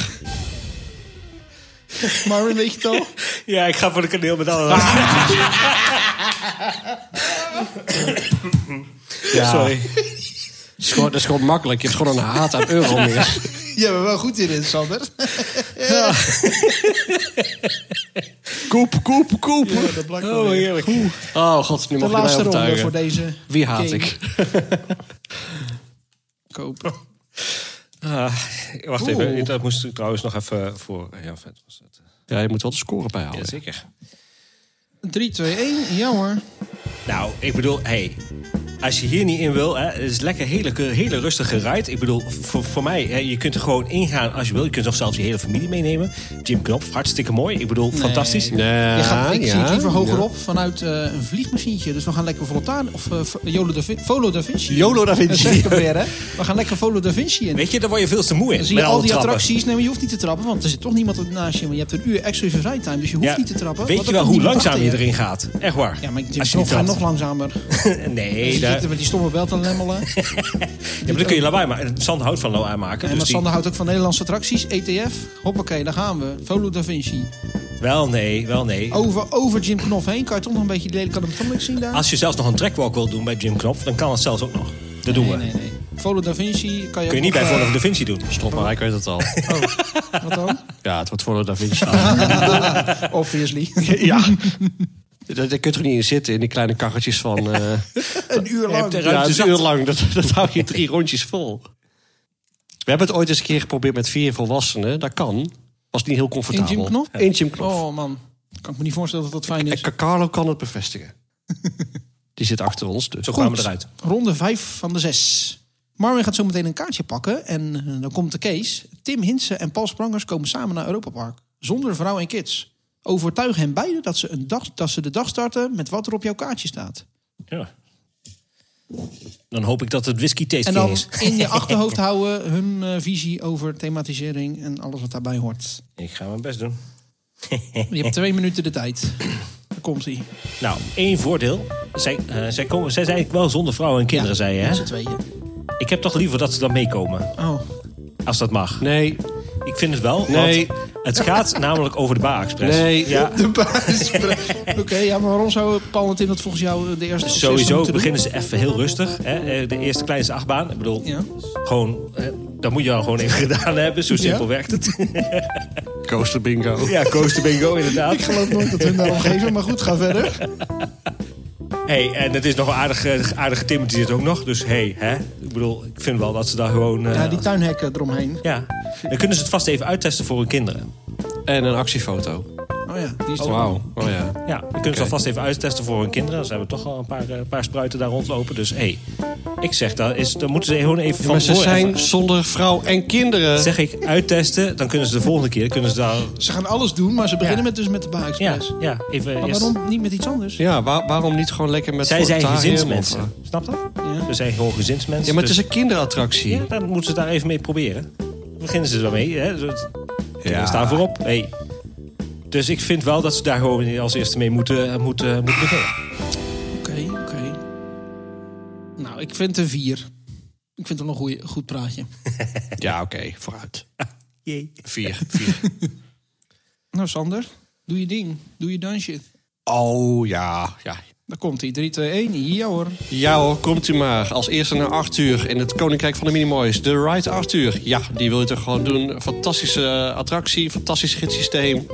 S1: Marvin, weet je het al?
S2: Ja, ik ga voor de kaneel met alle.
S1: Ah.
S3: Ja.
S2: Sorry.
S3: Dat Ah. is, gewoon, dat is gewoon makkelijk. Je hebt gewoon een haat aan Euromeer.
S1: Je bent wel goed hierin, Sander.
S3: Koep, koep, koep.
S1: Ja, dat blijkt wel
S2: Oh,
S1: weer.
S2: heerlijk.
S3: Oh god, nu
S1: De
S3: mag je mij
S1: laatste ronde voor
S3: overtuigen.
S1: deze.
S3: Wie haat
S1: game.
S3: ik?
S1: Kopen.
S2: Ah, wacht
S1: Oeh.
S2: even, dat moest ik trouwens nog even voor. Ja, vet was het.
S3: Ja, je moet wel de score bijhouden.
S2: zeker.
S1: 3, 2, 1. Ja hoor.
S2: Nou, ik bedoel, hey, als je hier niet in wil, hè, het is lekker hele, hele rustige ride. Ik bedoel, voor, voor mij, hè, je kunt er gewoon ingaan als je wil. Je kunt nog zelfs je hele familie meenemen. Jim Knopf, hartstikke mooi. Ik bedoel, fantastisch.
S3: Ja,
S1: Je gaat, ik zie het liever
S3: Ah, ja.
S1: hogerop vanuit eh, een vliegmachientje. Dus we gaan lekker Voltaan of eh, Jolo da Vin- Volo da Vinci.
S3: YOLO Da Vinci.
S1: Dat zeg ik hem weer, hè? We gaan lekker Volo da Vinci in.
S2: Weet je, daar word je veel te moe in.
S1: Dan zie je
S2: met
S1: al
S2: alle
S1: die
S2: trappen.
S1: attracties. Nee, maar je hoeft niet te trappen, want er zit toch niemand naast je. Maar je hebt een uur exclusieve rijtime, dus je hoeft
S2: Ja,
S1: niet te trappen.
S2: Weet
S1: want dan
S2: je wel
S1: kan
S2: hoe
S1: niemand
S2: langzaam je
S1: achter
S2: erin gaat? Echt waar.
S1: Ja, maar ik
S2: Als je
S1: nog,
S2: niet
S1: ga nog
S2: trapt.
S1: langzamer.
S2: Nee,
S1: Je
S2: daar,
S1: zit
S2: ja,
S1: er met die stomme bel te lemmelen.
S2: maar dan kun je lawaai maken. Sand houdt van lawaai maken.
S1: Nee,
S2: dus
S1: maar
S2: die-
S1: Sander houdt ook van Nederlandse attracties. ETF. Hoppakee, daar gaan we. Volo da Vinci.
S2: Wel nee, wel nee.
S1: Over, over Jim Knof heen. Kan je toch nog een beetje die lelijke anatomic zien daar?
S2: Als je zelfs nog een trackwalk wil doen bij Jim Knopf, dan kan het zelfs ook nog. Dat doen we.
S1: Nee, eh, nee, nee. Volo Da Vinci kan je,
S2: Kun je niet bij Volvo Da Vinci doen.
S3: Stop maar, ik weet het al.
S1: bij Wat dan?
S3: Ja, het wordt voor Da Vinci.
S1: Obviously.
S3: ja. Daar daar kun je toch niet in zitten, in die kleine karretjes van... eh
S1: een uur lang.
S2: hebt er- ruimte
S3: ja, het is een
S2: zat.
S3: uur lang, dat, dat hou je drie rondjes vol. We hebben het ooit eens een keer geprobeerd met vier volwassenen. Dat kan. Was niet heel comfortabel.
S1: Eentje hem knop?
S3: Eentje hem knop.
S1: Oh man, kan ik me niet voorstellen dat dat fijn
S3: En
S1: is.
S3: Carlo kan het bevestigen. Die zit achter ons dus.
S2: Zo gaan we
S1: Goed.
S2: eruit.
S1: Ronde 5 van de 6. Marvin gaat zo meteen een kaartje pakken en eh, dan komt de case. Tim Hinsen en Paul Sprangers komen samen naar Europa Park. Zonder vrouw en kids. Overtuig hen beiden dat ze, een dag, dat ze de dag starten met wat er op jouw kaartje staat.
S2: Ja. Dan hoop ik dat het whisky
S1: En
S2: tasting
S1: dan
S2: is.
S1: in je achterhoofd houden hun eh, visie over thematisering en alles wat daarbij hoort.
S2: Ik ga mijn best doen.
S1: Je hebt twee minuten de tijd. Daar komt hij.
S2: Nou, één voordeel. Zij, eh, zij, komen, zij zijn eigenlijk wel zonder vrouwen en kinderen, zei je.
S1: Met
S2: Hè?
S1: z'n tweeën.
S2: Ik heb toch liever dat ze dan meekomen,
S1: Oh,
S2: als dat mag.
S3: Nee,
S2: Ik vind het wel,
S3: Nee.
S2: want het gaat namelijk over de Baar Express.
S3: nee.
S2: Ja,
S1: de baas. Oké, ja, maar waarom zou Paul en Tim dat volgens jou de eerste
S2: sowieso beginnen ze even heel rustig. Hè? Eh, De eerste kleinste achtbaan. Ik bedoel,
S1: Ja.
S2: gewoon, hè, dat moet je dan gewoon even gedaan hebben. Zo simpel
S1: Ja.
S2: werkt het.
S3: Coaster bingo.
S2: Ja, coaster bingo inderdaad.
S1: Ik geloof nooit dat hun daarom geven, maar goed, ga verder.
S2: Hey, en het is nog een aardig, eh, aardig timmertje zit ook nog. Dus hey, hè? ik bedoel, ik vind wel dat ze daar gewoon... eh,
S1: Ja, die tuinhekken eromheen.
S2: ja. Dan kunnen ze het vast even uittesten voor hun kinderen.
S3: En een actiefoto.
S1: Oh ja, die is
S3: Oh, wauw. Oh ja.
S2: Ja, we kunnen ze alvast even uittesten voor hun kinderen. Ze hebben toch al een paar, eh, paar spruiten daar rondlopen. Dus hé, ik zeg, daar, is, daar moeten ze gewoon even
S3: Maar
S2: van
S3: ze
S2: voor
S3: zijn
S2: even-
S3: zonder vrouw en kinderen.
S2: Zeg ik uittesten, dan kunnen ze de volgende keer kunnen ze daar.
S1: Ze gaan alles doen, maar ze beginnen
S2: Ja.
S1: met, dus met de baas.
S2: Ja, ja even.
S1: Maar
S2: eerst-
S1: waarom niet met iets anders?
S3: Ja, waar- waarom niet gewoon lekker met
S2: Zij zijn
S3: Fortarium of- eh?
S2: gezinsmensen. Snap dat?
S1: Ja.
S2: Ze zijn gewoon gezinsmensen.
S3: Ja, maar het is
S2: dus-
S3: een kinderattractie.
S2: ja, dan moeten ze daar even mee proberen. Dan beginnen ze daarmee. Hè? Zo- Kinderen
S3: Ja.
S2: staan voorop. Hey. Dus ik vind wel dat ze daar gewoon als eerste mee moeten, eh, moeten, moeten beginnen.
S1: Oké, oké. Nou, ik vind een vier. Ik vind het een goeie, goed praatje.
S3: Ja, oké, vooruit.
S2: Jee.
S3: Vier, vier.
S1: Nou, Sander, doe je ding. Doe je dansje.
S3: Oh, ja, ja.
S1: Daar komt hij. 3, 2, 1. Ja hoor.
S3: Ja hoor, komt u maar. Als eerste naar Arthur in het Koninkrijk van de Minimoys. The Ride Arthur. Ja, die wil je toch gewoon doen. Fantastische eh, attractie, fantastisch gidssysteem.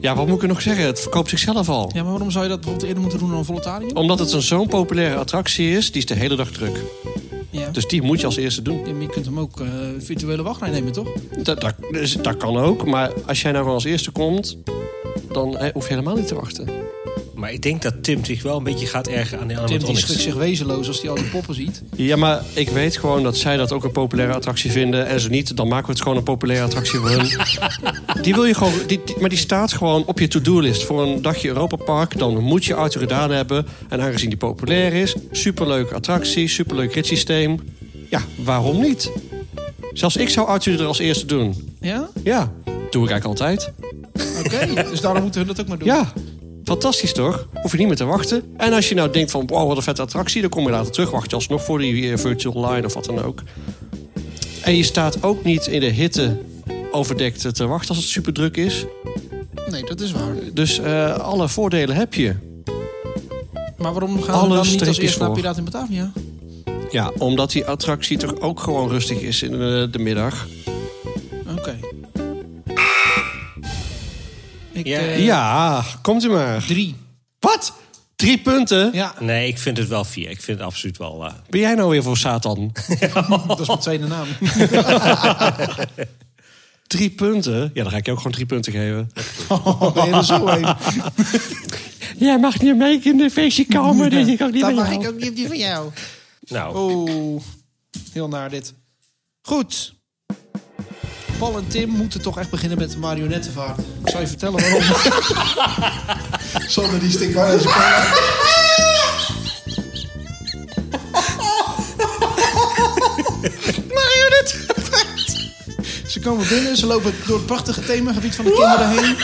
S3: Ja, wat moet ik er nog zeggen? Het verkoopt zichzelf al.
S1: Ja, maar waarom zou je dat bijvoorbeeld eerder moeten doen dan Voltarium?
S3: Omdat het een zo'n populaire attractie is, die is de hele dag druk.
S1: Ja.
S3: Dus die moet je als eerste doen.
S1: Ja, maar je kunt hem ook eh, virtuele wachtrij nemen, toch?
S3: Dat, dat, dus dat kan ook, maar als jij nou gewoon als eerste komt, dan eh, hoef je helemaal niet te wachten.
S2: Maar ik denk dat Tim zich wel een beetje gaat ergeren aan de
S1: Tim die
S2: animatronics.
S1: schudt zich wezenloos als hij al die poppen ziet.
S3: Ja, maar ik weet gewoon dat zij dat ook een populaire attractie vinden. En zo niet, dan maken we het gewoon een populaire attractie voor hun. Die wil je gewoon, die, die- maar die staat gewoon op je to-do-list. Voor een dagje Europa Park, dan moet je auto gedaan hebben. En aangezien die populair is, superleuke attractie, superleuk ritssysteem. Ja, waarom niet? Zelfs ik zou Arthur er als eerste doen.
S1: Ja?
S3: Ja, doe ik eigenlijk altijd.
S1: Oké, dus daarom moeten we dat ook maar doen.
S3: Ja, fantastisch toch? Hoef je niet meer te wachten. En als je nou denkt van, wow, wat een vette attractie... dan kom je later terug, wacht je alsnog voor die eh, virtual line of wat dan ook. En je staat ook niet in de hitte overdekt eh, te wachten als het super druk is.
S1: Nee, dat is waar.
S3: Dus eh, alle voordelen heb je.
S1: Maar waarom gaan we
S3: Alle
S1: dan niet als
S3: streepjes
S1: eerste naar
S3: voor.
S1: Piraten in Batavia?
S3: Ja, omdat die attractie toch ook gewoon rustig is in eh, de middag.
S1: Oké. Ik,
S2: Ja.
S1: eh,
S3: Ja, komt u maar.
S1: Drie.
S3: Wat? Drie punten?
S1: Ja,
S2: Nee, ik vind het wel vier. Ik vind het absoluut wel. eh,
S3: Ben jij nou weer voor Satan?
S1: dat is mijn tweede naam.
S3: Drie punten? Ja, dan ga ik je ook gewoon drie punten geven.
S1: Oh, ben je er zo heen?
S3: Jij mag niet mee in de feestje komen, dat ik ook niet
S1: Dan
S3: bij
S1: mag
S3: jou.
S1: ik ook niet op die van jou.
S2: nou,
S1: Oeh, heel naar dit. Goed. Paul en Tim moeten toch echt beginnen met de marionettenvaart. Ik zal je vertellen waarom. Sander die stinkt waar Ze komen binnen, ze lopen door het prachtige themagebied van de kinderen heen.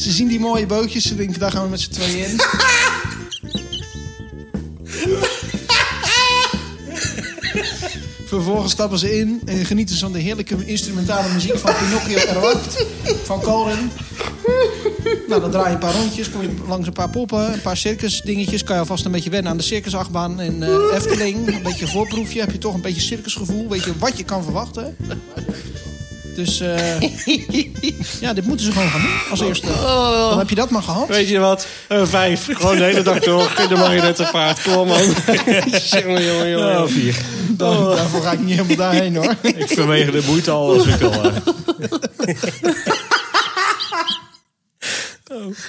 S1: Ze zien die mooie bootjes, ze denken daar gaan we met z'n tweeën in. Vervolgens stappen ze in en genieten ze van de heerlijke instrumentale muziek van Pinocchio en Ralph, van Colin. Nou, dan draai je een paar rondjes, kom je langs een paar poppen, een paar circusdingetjes. Kan je alvast een beetje wennen aan de circusachtbaan in eh, Efteling. Een beetje voorproefje, heb je toch een beetje circusgevoel. Weet je wat je kan verwachten. Dus eh, ja, dit moeten ze gewoon gaan doen als eerste. Dan heb je dat maar gehad.
S3: Weet je wat? Een vijf. Gewoon de hele dag door. Kindermarionetten paard. Kom man. jongen, jongen, jongen.
S2: Oh, vier.
S1: Dan- Daarvoor ga ik niet helemaal daarheen hoor.
S2: Ik vanwege de moeite al als ik al. eh,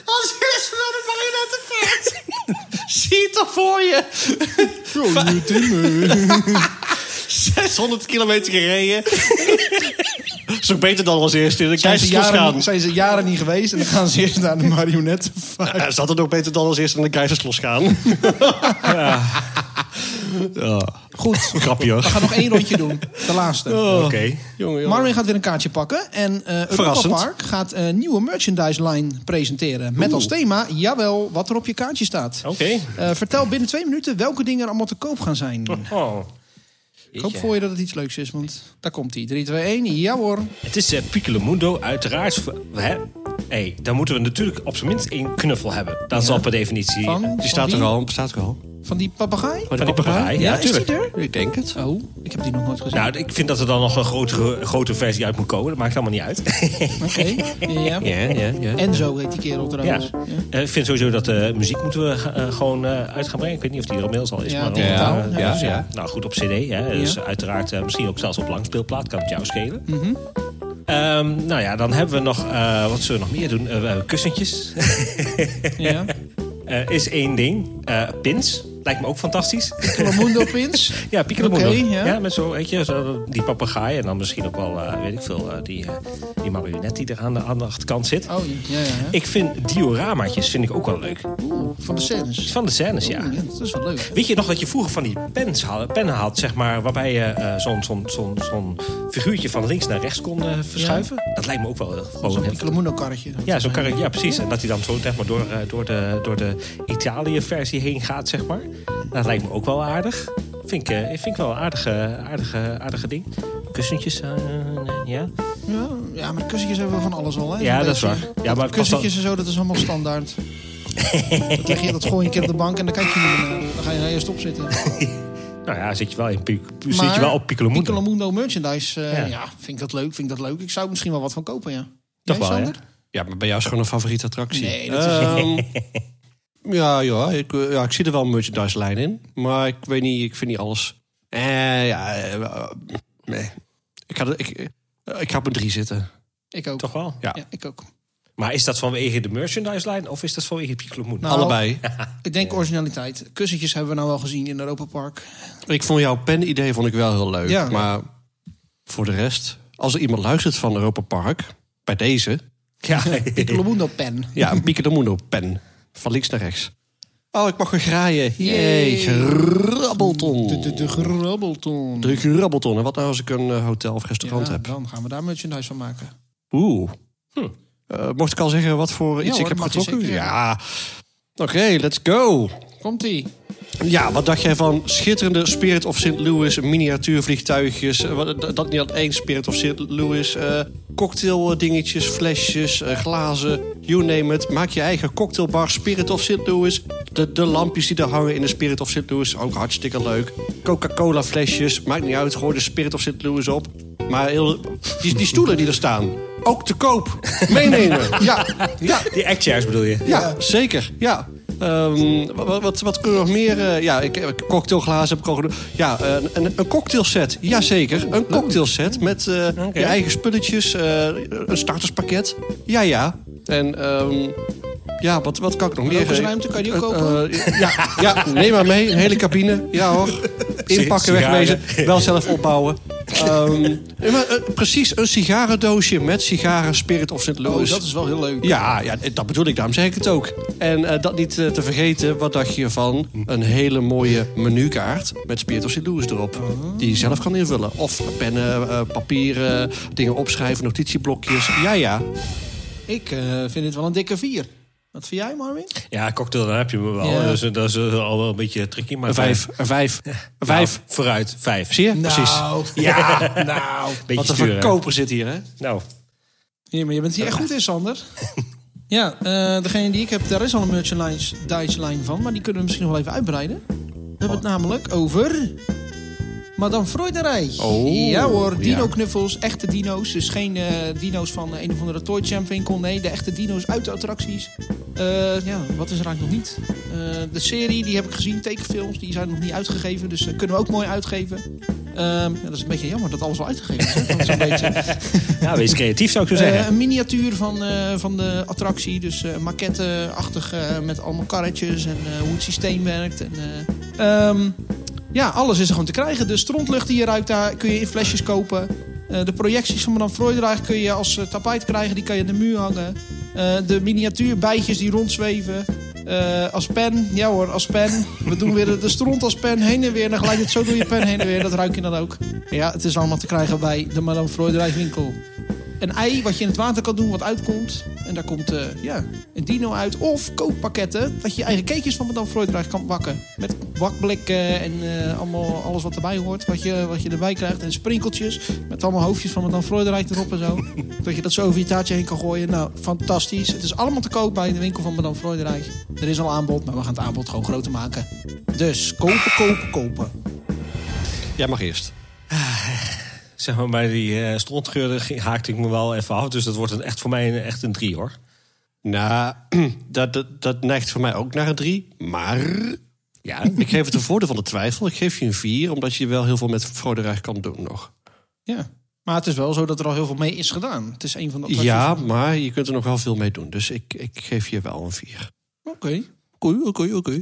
S3: Als eerste naar de marionettenpaard. Zie het toch voor je. 600 kilometer gereden. Is ook beter dan als eerste. Dan
S1: Zijn
S3: krijg
S1: ze,
S3: je het
S1: jaren,
S3: gaan.
S1: zijn ze jaren niet geweest en dan gaan ze eerst naar de marionetten.
S3: Ja, is dat het ook beter dan als eerste naar de keizerslos gaan?
S1: Goed,
S3: Grapje
S1: we
S3: hoor.
S1: gaan nog één rondje doen. De laatste.
S3: Oh,
S2: Oké.
S3: Jongen, jongen.
S1: Marvin gaat weer een kaartje pakken. En eh Europa
S3: Verrassend.
S1: Park gaat een nieuwe merchandise line presenteren. Met als thema, jawel, wat er op je kaartje staat.
S3: Oh.
S2: Oké.
S1: Eh, vertel binnen twee minuten welke dingen er allemaal te koop gaan zijn.
S2: Oh.
S1: Ik hoop voor je dat het iets leuks is, want daar komt hij. 3, 2, 1, ja hoor.
S2: Het is eh Piccolo Mundo, uiteraard. v- Hè? Hey, daar moeten we natuurlijk op zijn minst één knuffel hebben. Dat is al per definitie.
S1: Van,
S2: Van
S1: van
S3: Die staat
S1: wie?
S3: er al. Staat er al.
S1: Van die papegaai?
S3: Van
S2: die papegaai? Ja,
S1: is die
S2: tuurlijk.
S1: er?
S3: Ik denk het.
S1: Oh, ik heb die nog nooit gezien.
S2: Nou, ik vind dat er dan nog een grotere, grotere versie uit moet komen. Dat maakt allemaal niet uit.
S1: Oké, ja.
S3: Ja, ja, ja.
S1: Enzo heet die kerel
S2: ja.
S1: trouwens. Ja.
S2: Eh, Ik vind sowieso dat de muziek moeten we eh, gewoon eh, uit gaan brengen. Ik weet niet of die er inmiddels al is.
S1: Ja,
S2: maar
S1: ja,
S2: eh,
S1: ja,
S2: dus,
S3: ja.
S2: ja. Nou goed, op cd. Hè, dus
S1: Ja.
S2: uiteraard eh, misschien ook zelfs op langspeelplaat. Kan het jou schelen. Ehm, nou ja, dan hebben we nog... eh, wat zullen we nog meer doen? Eh, eh, kussentjes.
S1: ja.
S2: Eh, is één ding. Eh, pins. Lijkt me ook fantastisch.
S1: Colomundo Pins.
S2: Ja, Piccolo
S1: Oké, ja.
S2: ja. met zo, weet je, zo die papegaai. En dan misschien ook wel, eh, weet ik veel, eh, die, eh, die marionet die er aan de, aan de achterkant zit.
S1: Oh, ja, ja, ja.
S2: Ik vind dioramaatjes vind ik ook wel leuk.
S1: Oeh, van de scènes.
S2: Van de scènes, ja.
S1: Oeh, dat is wel leuk.
S2: Weet je nog dat je vroeger van die pens had, pennen had, zeg maar, waarbij je eh, zo'n zo'n zo'n zo'n figuurtje van links naar rechts kon eh, verschuiven? Dat lijkt me ook wel heel- gewoon
S1: Zo'n
S2: heftig.
S1: Colomundo karretje.
S2: Ja, zo'n karretje, ja, precies. En dat hij dan zo zeg maar, door, eh, door de, door de Italië-versie heen gaat, zeg maar. Dat lijkt me ook wel aardig. Vind ik, eh, vind ik wel een aardige, aardige, aardige ding. Kussentjes, eh, nee, ja.
S1: Ja, ja, maar kussentjes hebben we van alles al. Hè?
S2: Ja,
S1: Een
S2: dat is
S1: beetje.
S2: waar. Ja, maar het kost
S1: kussentjes en zo, dat is allemaal standaard. dat, leg je, dat gooi je een keer op de bank en dan kijk je niet meer naar. Dan ga je eerst opzitten.
S2: Nou ja, zit je wel, in, Pic- zit
S1: Maar
S2: je wel op Piccolo Mundo.
S1: Piccolo Mundo merchandise, eh,
S2: Ja.
S1: ja. vind ik dat leuk, vind ik dat leuk. Ik zou er misschien wel wat van kopen, ja.
S2: Toch
S1: Jij,
S2: wel, hè?
S1: Sander?
S3: Ja, maar bij jou is gewoon een favoriete attractie.
S1: Nee, dat is-
S3: Ehm, ja, ja, ik, eh, ja, ik zie er wel een merchandise lijn in. Maar ik weet niet, ik vind niet alles. Eh, ja, eh, eh, nee. Ik ga, er- ik, eh, ik ga op een drie zitten.
S1: Ik ook.
S2: Toch wel?
S3: Ja.
S1: Ja, ik ook.
S2: Maar is dat vanwege de merchandise-lijn of is dat vanwege Piccolo Mundo?
S1: Nou,
S3: Allebei.
S1: Ik denk originaliteit. Kussentjes hebben we nou wel gezien in Europa Park.
S3: Ik vond jouw pen-idee vond ik wel heel leuk.
S1: Ja.
S3: Maar voor de rest, als er iemand luistert van Europa Park, bij deze,
S2: Ja,
S1: Piccolo Mundo pen.
S3: ja, een Pico de Mundo pen. Van links naar rechts. Oh, ik mag weer graaien.
S1: Yay.
S3: Jee, grabbelton.
S1: De, de, de grabbelton.
S3: De grabbelton. En wat nou als ik een eh, hotel of restaurant
S1: Ja,
S3: heb?
S1: dan gaan we daar merchandise van maken.
S3: Oeh. Eh, mocht ik al zeggen wat voor iets
S1: hoor,
S3: ik heb
S1: mag je
S3: getrokken?
S1: zeker, ja.
S3: Ja. Oké, let's go.
S1: Komt-ie.
S2: Oh,
S3: Ja, wat dacht jij van schitterende Spirit of St. Louis miniatuurvliegtuigjes? eh, wat- Dat dat niet aan één Spirit of St. Louis. eh, cocktail dingetjes, flesjes, eh, glazen, you name it. Maak je eigen cocktailbar Spirit of St. Louis. De, de lampjes die er hangen in de Spirit of St. Louis, ook hartstikke leuk. Coca-Cola flesjes, maakt niet uit, gooi de Spirit of St. Louis op. Maar heel, die, die stoelen die er staan, ook te koop. Meenemen, ja, ja.
S2: die actchairs bedoel je?
S3: Ja, zeker. Ja. Ehm, wa- wa- wat, wat kunnen we nog meer? eh, ja, ik, ik- cocktailglazen heb ik al genoemd. Ja, een, een, een cocktailset. Jazeker, een cocktailset met eh,
S2: Oké.
S3: je eigen spulletjes. eh, een starterspakket. Ja, ja. En ehm, ja, wat, wat kan ik nog meer?
S1: Rokersruimte, kan je die ook
S3: Eh,
S1: kopen?
S3: eh, ja, ja, neem maar mee. Een hele cabine. Ja hoor. Inpakken,
S2: Sigaren.
S3: wegwezen. Wel zelf opbouwen. Ehm, ja, maar, eh, precies, een sigarendoosje met sigaren, Spirit of St.
S1: Oh,
S3: Louis.
S1: dat is wel heel leuk.
S3: Ja, ja, dat bedoel ik, daarom zeg ik het ook. En eh, dat niet eh, te vergeten, wat dacht je van een hele mooie menukaart met Spirit of St. Louis erop? Die je zelf kan invullen. Of pennen, eh, papieren, dingen opschrijven, notitieblokjes. Ja, ja.
S1: Ik eh, vind dit wel een dikke vier. Wat vind jij, Marvin?
S2: Ja, cocktail, daar heb je me wel.
S1: Ja.
S2: Dus, eh, dat is eh, al wel een beetje tricky. Maar
S3: Een vijf, een vijf, een
S2: Nou,
S3: vijf.
S2: vooruit, vijf.
S3: Zie je? Precies.
S1: Nou, ja, nou.
S2: Beetje
S3: Wat een
S2: sturen.
S3: verkoper zit hier, hè?
S2: Nou,
S1: Ja, maar je bent hier echt goed in, Sander. Ja, eh, degene die ik heb, daar is al een merchandise lijn van. Maar die kunnen we misschien nog wel even uitbreiden. We hebben het namelijk over... Madame Freuderij.
S4: Oh,
S1: ja hoor,
S4: ja.
S1: dino-knuffels, echte dino's. Dus geen eh, dino's van een of andere toy champ winkel. Nee, de echte dino's uit de attracties. Eh, ja, wat is er eigenlijk nog niet? Eh, de serie, die heb ik gezien, tekenfilms, die zijn nog niet uitgegeven. Dus eh, kunnen we ook mooi uitgeven. Ehm, ja, dat is een beetje jammer dat alles al uitgegeven is. hè? Dat is een beetje...
S2: Ja, wees creatief zou ik zo
S1: Eh,
S2: zeggen.
S1: een miniatuur van, eh, van de attractie. Dus eh maquette-achtig eh, met allemaal karretjes en eh, hoe het systeem werkt. En, eh, ehm, ja, alles is er gewoon te krijgen. De strontlucht die je ruikt, daar kun je in flesjes kopen. Eh, de projecties van Madame Freudraag kun je als eh, tapijt krijgen. Die kan je in de muur hangen. Eh, de miniatuurbijtjes die rondzweven. Eh, als pen, ja hoor, als pen. We doen weer de- de stront als pen, heen en weer. Dan glijdt het zo door je pen heen en weer. Dat ruik je dan ook. Ja, het is allemaal te krijgen bij de Madame Freudraag winkel een ei wat je in het water kan doen, wat uitkomt. En daar komt eh, ja, een dino uit. Of kooppakketten, dat je je eigen cakejes van Madame Freudraag kan bakken. Met bakblikken en eh, allemaal, alles wat erbij hoort, wat je, wat je erbij krijgt. En sprinkeltjes met allemaal hoofdjes van Madame Freudraag erop en zo. dat je dat zo over je taartje heen kan gooien. Nou, fantastisch. Het is allemaal te koop bij de winkel van Madame Freudraag. Er is al aanbod, maar we gaan het aanbod gewoon groter maken. Dus kopen, kopen, kopen.
S3: Jij mag eerst.
S2: Zeg maar, bij die eh, strontgeur ging- haakte ik me wel even af. Dus dat wordt een, echt voor mij een, echt een drie, hoor.
S3: Nou, dat, dat, dat neigt voor mij ook naar een drie. Maar
S2: Ja,
S3: ik geef het een voordeel van de twijfel. Ik geef je een vier, omdat je wel heel veel met Froderijk kan doen nog.
S1: Ja. Maar het is wel zo dat er al heel veel mee is gedaan. Het is een van de attracties
S3: Ja,
S1: van-
S3: maar je kunt er nog wel veel mee doen. Dus ik, ik geef je wel een vier.
S1: Oké.
S3: Oké, oké, oké.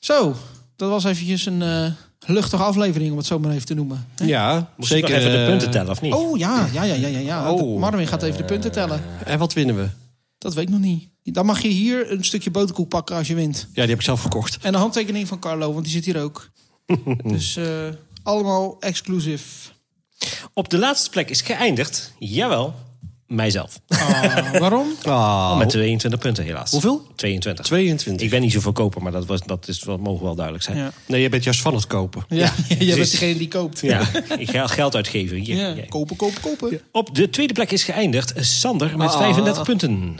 S1: Zo, dat was eventjes een eh, luchtige aflevering, om het zo maar even te noemen.
S3: Ja,
S2: moest
S3: zeker.
S2: zeker even de
S3: eh,
S2: punten tellen, of niet?
S1: Oh ja, ja, ja, ja, ja. ja.
S3: Oh.
S1: De- Marvin gaat even de punten tellen.
S3: En wat winnen we?
S1: Dat weet ik nog niet. Dan mag je hier een stukje boterkoek pakken als je wint.
S3: Ja, die heb ik zelf gekocht.
S1: En een handtekening van Carlo, want die zit hier ook. dus eh, allemaal exclusief.
S2: Op de laatste plek is geëindigd, jawel, mijzelf.
S1: Ah, waarom?
S3: Ah,
S2: Met 22 punten, helaas.
S3: Hoeveel?
S2: 22.
S3: 22.
S2: Ik ben niet zo verkoper, maar dat, was, dat, is, dat mogen wel duidelijk zijn.
S1: Ja.
S3: Nee, je bent juist van het kopen.
S1: Ja, jij bent
S2: precies.
S1: degene die koopt.
S2: Ja, ik ga geld uitgeven. Hier,
S1: Ja.
S2: jij.
S1: Kopen, kopen, kopen.
S2: Op de tweede plek is geëindigd eh, Sander met 35 punten.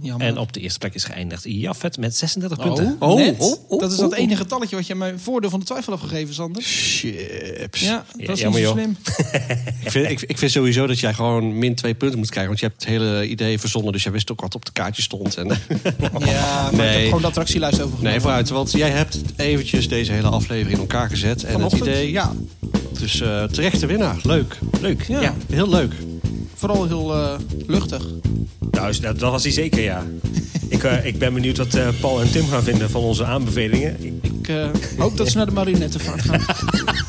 S1: Jammer.
S2: En op de eerste plek is geëindigd Jaffet met 36 punten.
S1: Oh,
S3: Oh,
S1: net.
S3: oh, oh,
S1: dat is dat
S3: oh.
S1: enige talletje wat je mij voordeel van de twijfel hebt gegeven, Sander.
S3: Chips.
S1: Ja,
S2: Ja,
S1: dat is
S2: jammer,
S1: niet zo
S2: joh.
S1: slim.
S3: Ik, vind, ik, ik vind sowieso dat jij gewoon min twee punten moet krijgen. Want je hebt het hele idee verzonnen. Dus jij wist ook wat op de kaartje stond. En,
S1: Ja, maar ik heb
S3: Nee.
S1: gewoon de attractielijst overgenomen.
S3: nee, vooruit. Want jij hebt eventjes deze hele aflevering in elkaar gezet. En het
S1: Vanochtend.
S3: idee, ja. Dus eh terechte winnaar. Leuk.
S2: Leuk. Ja.
S1: Ja.
S3: Heel leuk.
S1: Vooral heel eh, luchtig.
S2: Nou, is- dat, dat was hij zeker, ja. ik, eh, ik ben benieuwd wat eh, Paul en Tim gaan vinden van onze aanbevelingen. Ik-
S1: Ik eh, hoop dat ze naar de marionettenvaart gaan.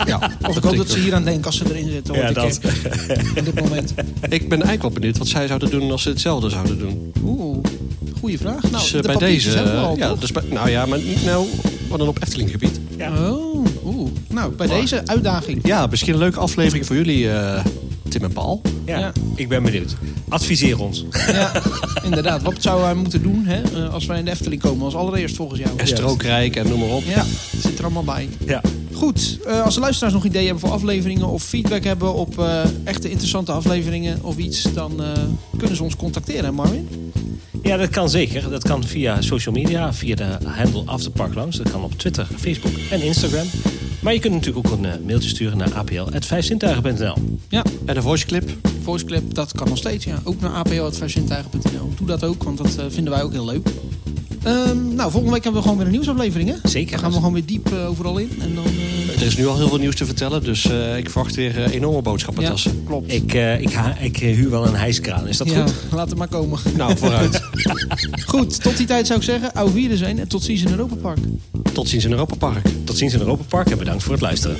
S3: Ja,
S1: Of ik hoop dat ze hier aan denken als ze erin zitten.
S2: Ja,
S1: Ja,
S2: dat.
S1: dat. Op dit moment.
S3: ik ben eigenlijk wel benieuwd wat zij zouden doen als ze hetzelfde zouden
S1: Nou,
S3: doen.
S1: Oeh, goede vraag. Nou,
S3: dus eh,
S1: de
S3: bij
S1: papiertjes
S3: deze.
S1: hebben we al,
S3: ja,
S1: toch?
S3: dus bij- nou ja, maar niet nou, maar dan op Efteling gebied.
S1: Oh, oeh. Nou, bij deze uitdaging.
S3: Ja, misschien een leuke aflevering voor jullie, eh, Tim en Paul.
S2: ja,
S1: Ja.
S2: ik ben benieuwd. Adviseer ons.
S1: Ja, inderdaad. Wat zouden wij moeten doen hè, eh, als wij in de Efteling komen? Als allereerst volgens jou.
S3: En strookrijk en noem maar op.
S1: Ja, zit er allemaal bij.
S2: ja.
S1: Goed, eh, als de luisteraars nog ideeën hebben voor afleveringen of feedback hebben op eh, echte interessante afleveringen of iets, dan eh, kunnen ze ons contacteren, hè, Marvin.
S2: ja, dat kan zeker. Dat kan via social media, via de handle Afterpark Lounge. Dat kan op Twitter, Facebook en Instagram. Maar je kunt natuurlijk ook een eh, mailtje sturen naar apl.vijfzintuigen.nl.
S1: Ja,
S3: En een voice clip.
S1: voiceclip, dat kan nog steeds. Ja. Ook naar apo.versintuigen.nl. Doe dat ook, want dat eh, vinden wij ook heel leuk. Ehm, nou, volgende week hebben we gewoon weer een nieuwsaflevering, hè?
S2: Zeker.
S1: Dan gaan we gewoon weer diep eh, overal in. En dan, eh,
S3: Er is nu al heel veel nieuws te vertellen, dus eh, ik verwacht weer eh, enorme boodschappentassen.
S1: klopt.
S2: Ik, eh, ik, ha- ik eh, huur wel een hijskraan. Is dat
S1: ja,
S2: goed?
S1: laat het maar komen.
S3: Nou, vooruit.
S1: Goed, tot die tijd zou ik zeggen, au vieren zijn en tot ziens in Europa Park.
S3: Tot ziens in Europa Park.
S2: Tot ziens in Europa Park en bedankt voor het luisteren.